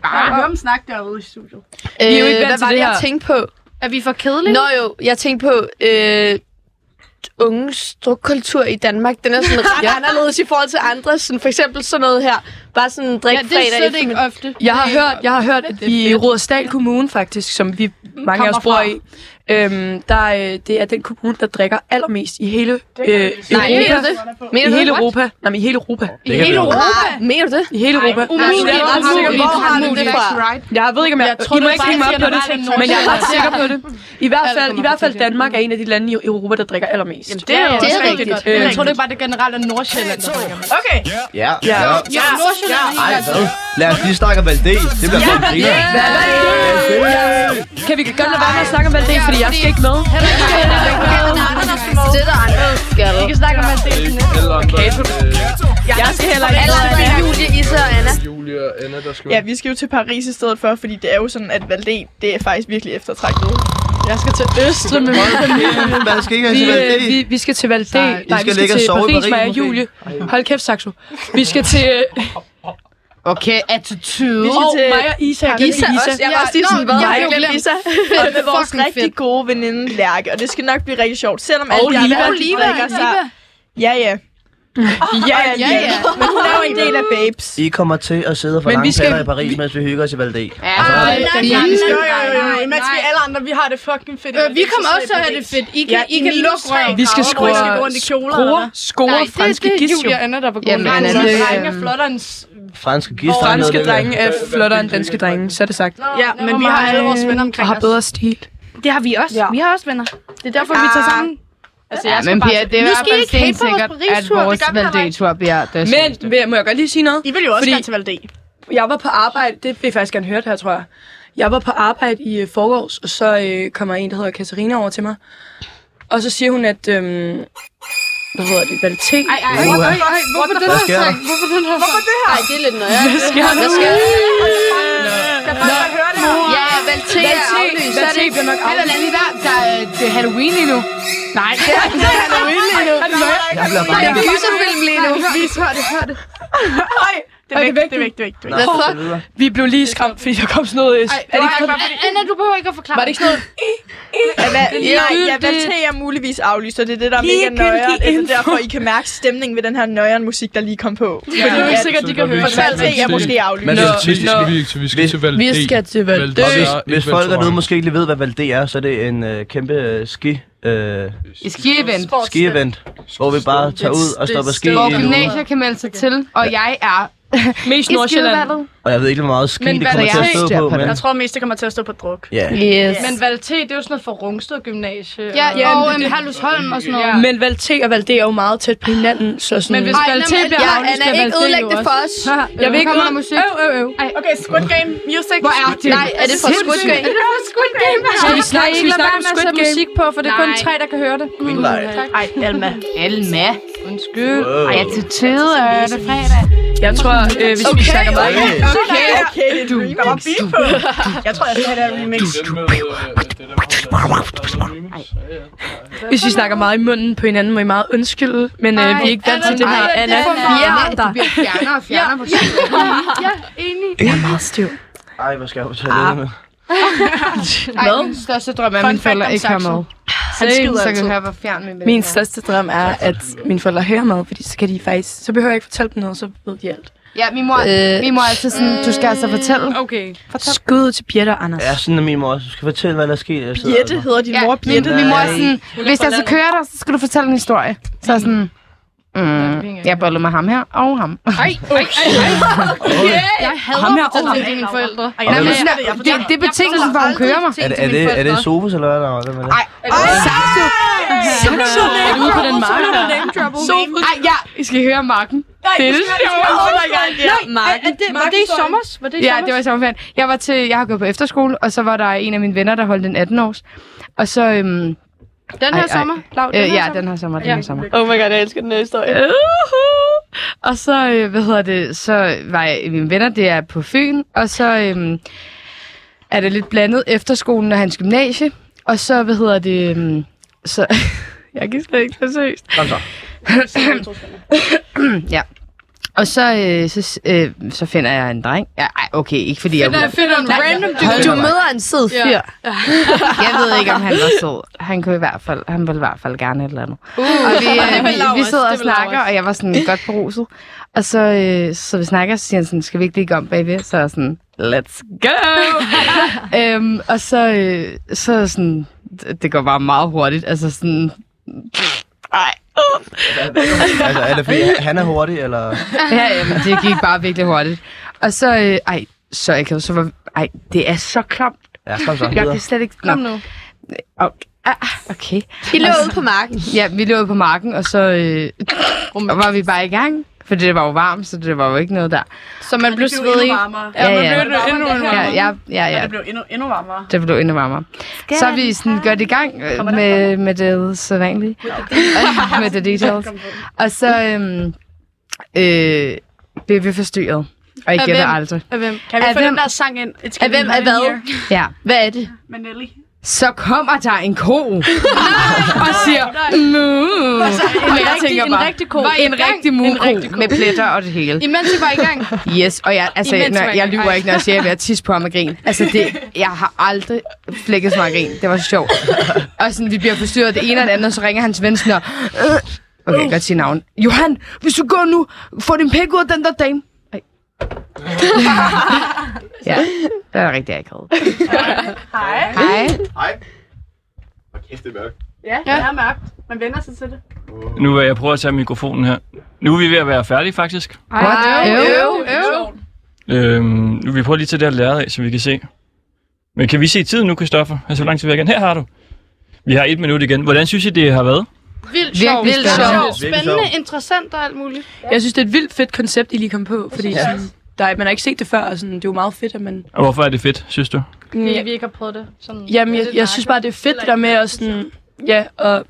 bare-
Jeg hører dem snakke derude i studiet.
Vi
Øh, hvad var det, jeg tænkte på?
Er vi for kedelige?
Nå jo, jeg tænkte på øh, unges strukkultur i Danmark. Den er sådan ret ja. anderledes i forhold til andre. Sådan, for eksempel sådan noget her. Bare sådan en
Ja, det er
drikfredag.
slet ikke ofte.
Jeg har hørt, jeg har hørt at i Rådesdal Kommune faktisk, som vi mange af os bor i, øhm, der, øh, det er den kommune, der drikker allermest i hele øh,
Nej, mener
Europa.
du det? Mener
I
du
hele
det?
Europa. Nej, men i hele Europa.
I hele Europa?
Mener du det? I hele Europa.
umuligt.
Jeg er ret sikker på,
Umuligt.
hvor har du det
Umuligt.
fra? Jeg ved ikke, om jeg...
Jeg tror,
I må
det
ikke
er
hænge mig op
bare
på det,
generelt
men jeg er ret
nordnorsk.
sikker på det. I hvert
Alt
fald, i
kommer
hvert fald
til det.
Danmark er en af de Øh, lande i i Europa, der drikker allermest.
Det er,
Det er
også rigtigt.
rigtigt. Det er
Jeg tror, det er bare det generelle af Nordsjælland, der drikker med.
Okay.
Ja.
Ja.
Ja, Nordsjælland er
Ej,
helt
hvad? Lad os lige snakke om Valde. Det bliver sådan en griner.
Kan vi godt lade være med at snakke om alt det, fordi jeg skal ikke med?
Det er der andre, der skal.
Vi kan snakke om alt det.
Alle andre. øh,
Jeg skal heller ikke
Eller det er Julie, Isse og Anna.
Julie og Anna, der skal
Ja, vi skal jo til Paris i stedet for, fordi det er jo sådan, at Valde, det er faktisk virkelig eftertragtet.
Jeg skal til Østrig med min familie.
Hvad skal I have
Vi,
til Valde?
øh, vi, vi skal til Valdé. Nej,
skal
vi skal
ligge og
til
sove i
Paris
Paris
med
måske.
Julie. Hold kæft, Saxo. Vi skal til... øh,
Okay, attitude.
Vi skal
Og
til-
mig og Isa. Jeg glemte
Isa
Isa.
også. Jeg var også lige
Ja,
sådan,
nå,
hvad
jeg
har
har
jeg
jo
glemt
glemt.
Isa? Og med vores
Fucking
rigtig
fedt.
gode veninde Lærke. Og det skal nok blive rigtig sjovt, selvom
Og
alle de
Liva.
andre
Og
Liva,
drikker sig.
Liva.
Ja, ja. Ja, ja,
ja, ja.
Liva. Men hun er jo en del af babes.
I kommer til at sidde og få
Men vi
lange
skal-
patter i Paris, mens vi hygger os i Valde.
Ja,
Ah,
nej,
vi-
nej,
vi
nej,
skal-
jo, jo, jo, jo. Imens vi
Nej.
alle andre, vi har det fucking fedt.
Øh, vi kommer også til at have det fedt. I kan, I kan lukke røven.
Vi skal
Hvor I skal gå
score
rundt i kjoler, eller
skruer,
hvad?
skoer, franske gissio.
Anna, der var
Jamen,
Nej,
Anna,
så
det,
drenge er
øhm,
flottere end... s-
Franske gister.
Franske drenge øh. er flottere end danske drenge, så er det sagt.
Ja, men vi har alle vores venner
Og
omkring
har
os.
bedre stil.
Det har vi også. Vi har også venner. Det er derfor, vi tager sammen.
Altså,
Ja,
jeg skal
men Pia,
bare...
det er i
Nu
hvert
skal I
fald
ikke hate på vores
stensikkert, at
Paris-tur, det
vores
gør vi heller ikke.
Valdetur bliver det seneste.
Men vil- må jeg godt lige sige noget?
I vil jo også
Fordi-
gerne til Valdé.
Jeg var på arbejde, det vil jeg faktisk gerne høre det her, tror jeg. Jeg var på arbejde i øh, forgårs, og så øh, kommer en, der hedder Katarina over til mig. Og så siger hun, at... Øhm, hvad hedder det? Valté?
Ej, ej,
Uha.
ej, ej, hvorfor den her
sker der?
sang? Hvorfor den her sang?
Nej, det er lidt nøjere. Hvad
sker der?
Hvad sker der?
Kan bare høre det her.
Ja, Valté er aflyst. Så er
Valté
det
bliver nok
Ej, lad
aflyst.
lige være. Der er, det er Halloween lige nu. Nej, det er ikke Halloween lige nu.
Jeg
Der
bliver bare...
er en gyserfilm lige nu.
Vis, hør det, hør det.
Det er væk, det er væk, det er væk. Det er væk.
Nå,
Hvorfor?
så videre.
Vi blev lige skræmt, fordi der kom sådan noget... øh,
Ej,
er det ikke sådan,
Anna, du behøver ikke at forklare.
var det ikke sådan noget...
Ja, hvad, ja, ja,
Ligegyldigt.
Valté er muligvis aflyst, og det er det, der er mega
Ligegyldig
nøjeren. og Det er
info.
derfor, I kan mærke stemningen ved den her nøjeren musik, der lige kom på.
Ja, det er jo ikke
Fordi
sikkert, de kan høre
at Valté er måske aflyst.
Men
Nå,
hvis-
vi skal vi ikke til. Vi skal til Valdé.
Vi skal til Valdé.
Og hvis, hvis folk dernede måske ikke lige ved, hvad Valde er, så er det en øh, kæmpe øh, ski, øh,
Et ski-event,
ski-event, hvor vi bare tager ud og står på ski i
hvor
en uge.
gymnasier kan melde sig til, og jeg er
Mest
I Nordsjælland.
Skidevalget.
Og jeg ved ikke, hvor meget ski det kommer til at stå på, men...
Jeg tror mest, det kommer til at stå på druk.
Ja.
Yes.
Men Valté, det er jo sådan noget for Rungsted Gymnasie.
Ja, og, øhm, Herlufsholm og sådan noget.
Men Val T og Val D er jo meget tæt på hinanden, så sådan...
Men hvis Val T bliver aflyst,
Anna, ikke ødelæg det for os.
Jeg vil ikke
Kommer der
ud...
musik?
Øv, øv, øv.
Okay, Squid Game Music. Hvor er
det? Nej, er det fra Squid Game?
Er det fra Squid Game?
Skal vi snakke- skal vi snakke om Squid Game?
musik på, for det er kun
Nej.
tre, der kan høre det.
Nej.
Ej, Alma.
Alma.
Undskyld.
Wow. Ej, jeg er til tide, øh, det er fredag.
Jeg tror, øh, hvis vi
Okay,
snakker meget...
okay, okay,
okay.
Du, der var beat på. Jeg tror, jeg skal have det her remix.
Hvis vi snakker meget i munden på hinanden, må I meget undskylde, men øh, vi er ikke vant til det her. Anna, vi er andre.
bliver fjernere og fjernere på tiden.
Ja, enig.
Jeg er meget stiv.
Ej, hvor skal jeg på toilettet nu?
Ej, min største drøm er, at mine forældre ikke har med.
Han skider
så kan
altid.
jeg høre, hvor fjern min
Min største drøm er, at mine forældre hører med, fordi så kan de faktisk... Så behøver jeg ikke fortælle dem noget, så ved de alt.
Ja, min mor,
Øh,
min mor er altid sådan, du skal altså fortælle.
Okay.
Skud til Birte og
Ah.
Anders.
Ja, sådan er min mor. også. Du skal fortælle, hvad der er sket. Jeg sidder altså.
hedder din mor
Min, min mor er
Nej.
sådan, hvis jeg så kører dig, så skal du fortælle en historie. Så er jeg sådan, mm, jeg bollede med ham her og ham.
Ej, ej, ej, ej. Jeg hader
Ham her
at fortælle
over.
ting til mine forældre.
Ej, jeg ved det. Jeg fortæller- Det- det er betingelsen for, at hun kører mig.
Er det, er det, er det Sofus eller hvad der er? Hvem er det?
Ej, Saxo. Saxo.
Er du ude på den mark her?
Sofus. Ej, ja, I skal høre Marken.
Nej,
det er det
I skal høre-
sjoveste.
Oh my God, ja.
Nej,
Marken.
er- er det-
Marken står-
Ja, det var i sommerferien. Jeg var til, jeg har gået på efterskole, og så var der en af mine venner, der holdt en 18-års. Og så, øhm, den
Den her sommer? Lav, den
øh,
her
ja,
sommer?
den her sommer, den
Ja.
her sommer.
Oh my god, jeg elsker den her historie.
Uhu. Og så, øh, hvad hedder det, så var jeg, mine venner, det er på Fyn, og så øhm, er det lidt blandet efterskolen og hans gymnasie, og så, hvad hedder det, øhm, så, jeg kan slet ikke så seriøst.
Kom så.
ja. Og så, øh, så, s- øh, så finder jeg en dreng. Ja, ej, okay, ikke fordi
Finder-
jeg...
finder en
Nej,
random
hold
dude.
da
Du
op.
møder
en sød
Ja.
fyr.
Jeg ved ikke, om han var sød. Han kunne i hvert fald, han ville i hvert fald gerne et eller andet.
Uh,
og vi,
det vil
øh, vi, vi
Laura
sidder
også,
og
det vil Laura
snakker,
også.
og jeg var sådan godt beruset. Og så, øh, så vi snakker, så siger han sådan, skal vi ikke ligge om bagved? Så er jeg sådan, let's go! øhm, og så, øh, så er jeg sådan, det- det går bare meget hurtigt. Altså sådan, ej, uh.
Altså, er det fordi, han er hurtig, eller...
Ja, jamen, det gik bare virkelig hurtigt. Og så, øh, ej, så jeg kan så var, ej, det er så klamt.
Ja, kom så.
Jeg kan slet ikke... Nå.
Kom nu.
Okay. Ah, okay.
Vi lå
Og så-
ude på marken.
Ja, vi lå ude på marken, og så øh, og var vi bare i gang. For det var jo varmt, så det var jo ikke noget der.
Så man blev
blev
svedig.
endnu
Ja,
Ja,
man
ja.
blev endnu- endnu
Ja,
varmere.
ja, ja, ja.
Og det blev endnu, endnu varmere.
Det blev endnu varmere. Så er vi sådan godt i gang øh, med, med det sædvanlige. med the details. Og så øhm, øh, blev vi forstyrret. Og jeg
Af
gætter
hvem?
aldrig.
Af hvem? Kan vi
Af
få
hvem?
den der sang ind? It's
Af hvem?
gonna
Af
be
hvad?
here.
Ja.
Hvad er det?
Med Nelly.
Så kommer der en ko og siger, mu.
Altså, en
Og jeg
rigtig-
tænker
en
bare,
rigtig ko.
"Var I en
En gang?
rigtig
En rigtig
muko
ko."
med pletter og det hele.
Imens I var i gang.
Yes, og jeg, altså,
Imens
når,
var jeg
jeg
i gang.
lyver ikke, når jeg siger, at jeg er ved at tisse på ham af grin. Altså, det, jeg har aldrig flækket så meget grin. Det var sjovt. Og sådan, vi bliver forstyrret det ene og det andet, og så ringer hans ven sådan, og, "Øh." okay, jeg kan godt sige navn. Johan, hvis du går nu, få din pik ud af den der dame. Ej. ja, det er rigtig akavet.
Hej.
Hej.
Hej. Hvor kæft, det er mørkt.
Ja, det er mørkt. Man vender sig til det.
Nu vil jeg prøve at tage mikrofonen her. Nu er vi ved at være færdige, faktisk.
Ej,
What?
øv, øv.
Øv,
Øhm, nu vi prøver lige til det her lærer af, så vi kan se. Men kan vi se tiden nu, Christoffer? Altså, hvor lang tid vil jeg gerne? Her har du. Vi har et minut igen. Hvordan synes I, det har været?
Vildt
Virkelig
sjovt.
vildt sjovt.
Spændende, interessant og alt muligt.
Jeg synes, det er et vildt fedt koncept, I lige kom på, fordi sådan, der, er- man har ikke set det før, og sådan, det er jo meget fedt, at man...
Og hvorfor er det fedt, synes du?
Fordi vi ikke har prøvet det. Sådan,
Jamen, jeg, jeg synes bare, det er fedt, det der med at sådan... Ja, og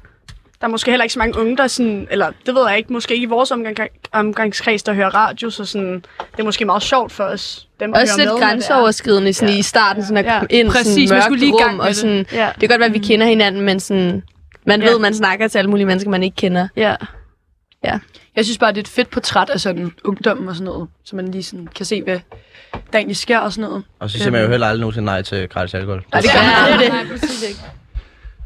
Der er måske heller ikke så mange unge, der sådan, eller det ved jeg ikke, måske ikke i vores omgang, omgangskreds, der hører radio, så sådan, det er måske meget sjovt for os, dem, der
Også
hører
lidt
med, når det er.
grænseoverskridende sådan i starten, sådan at komme ind
Præcis,
i
man
sådan et mørkt
skulle lige i gang
rum.
med
Og
det.
sådan, det
Ja. Mm.
kan godt være, at vi kender hinanden, men sådan, man ved, man snakker til alle mulige mennesker, man ikke kender.
Ja.
Ja.
jeg synes bare, det er et fedt portræt af sådan ungdommen og sådan noget, så man lige sådan kan se, hvad der egentlig sker og sådan noget.
Og så siger man jo heller aldrig nogensinde nej til gratis alkohol.
Nej, det gør man aldrig.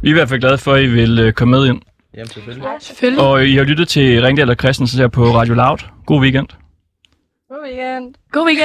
Vi er i hvert fald glade for, at I vil øh, komme med ind.
Jamen, selvfølgelig.
Selvfølgelig.
Og I har lyttet til Ringdal og Christensen her på Radio Loud. God weekend.
God weekend.
God weekend.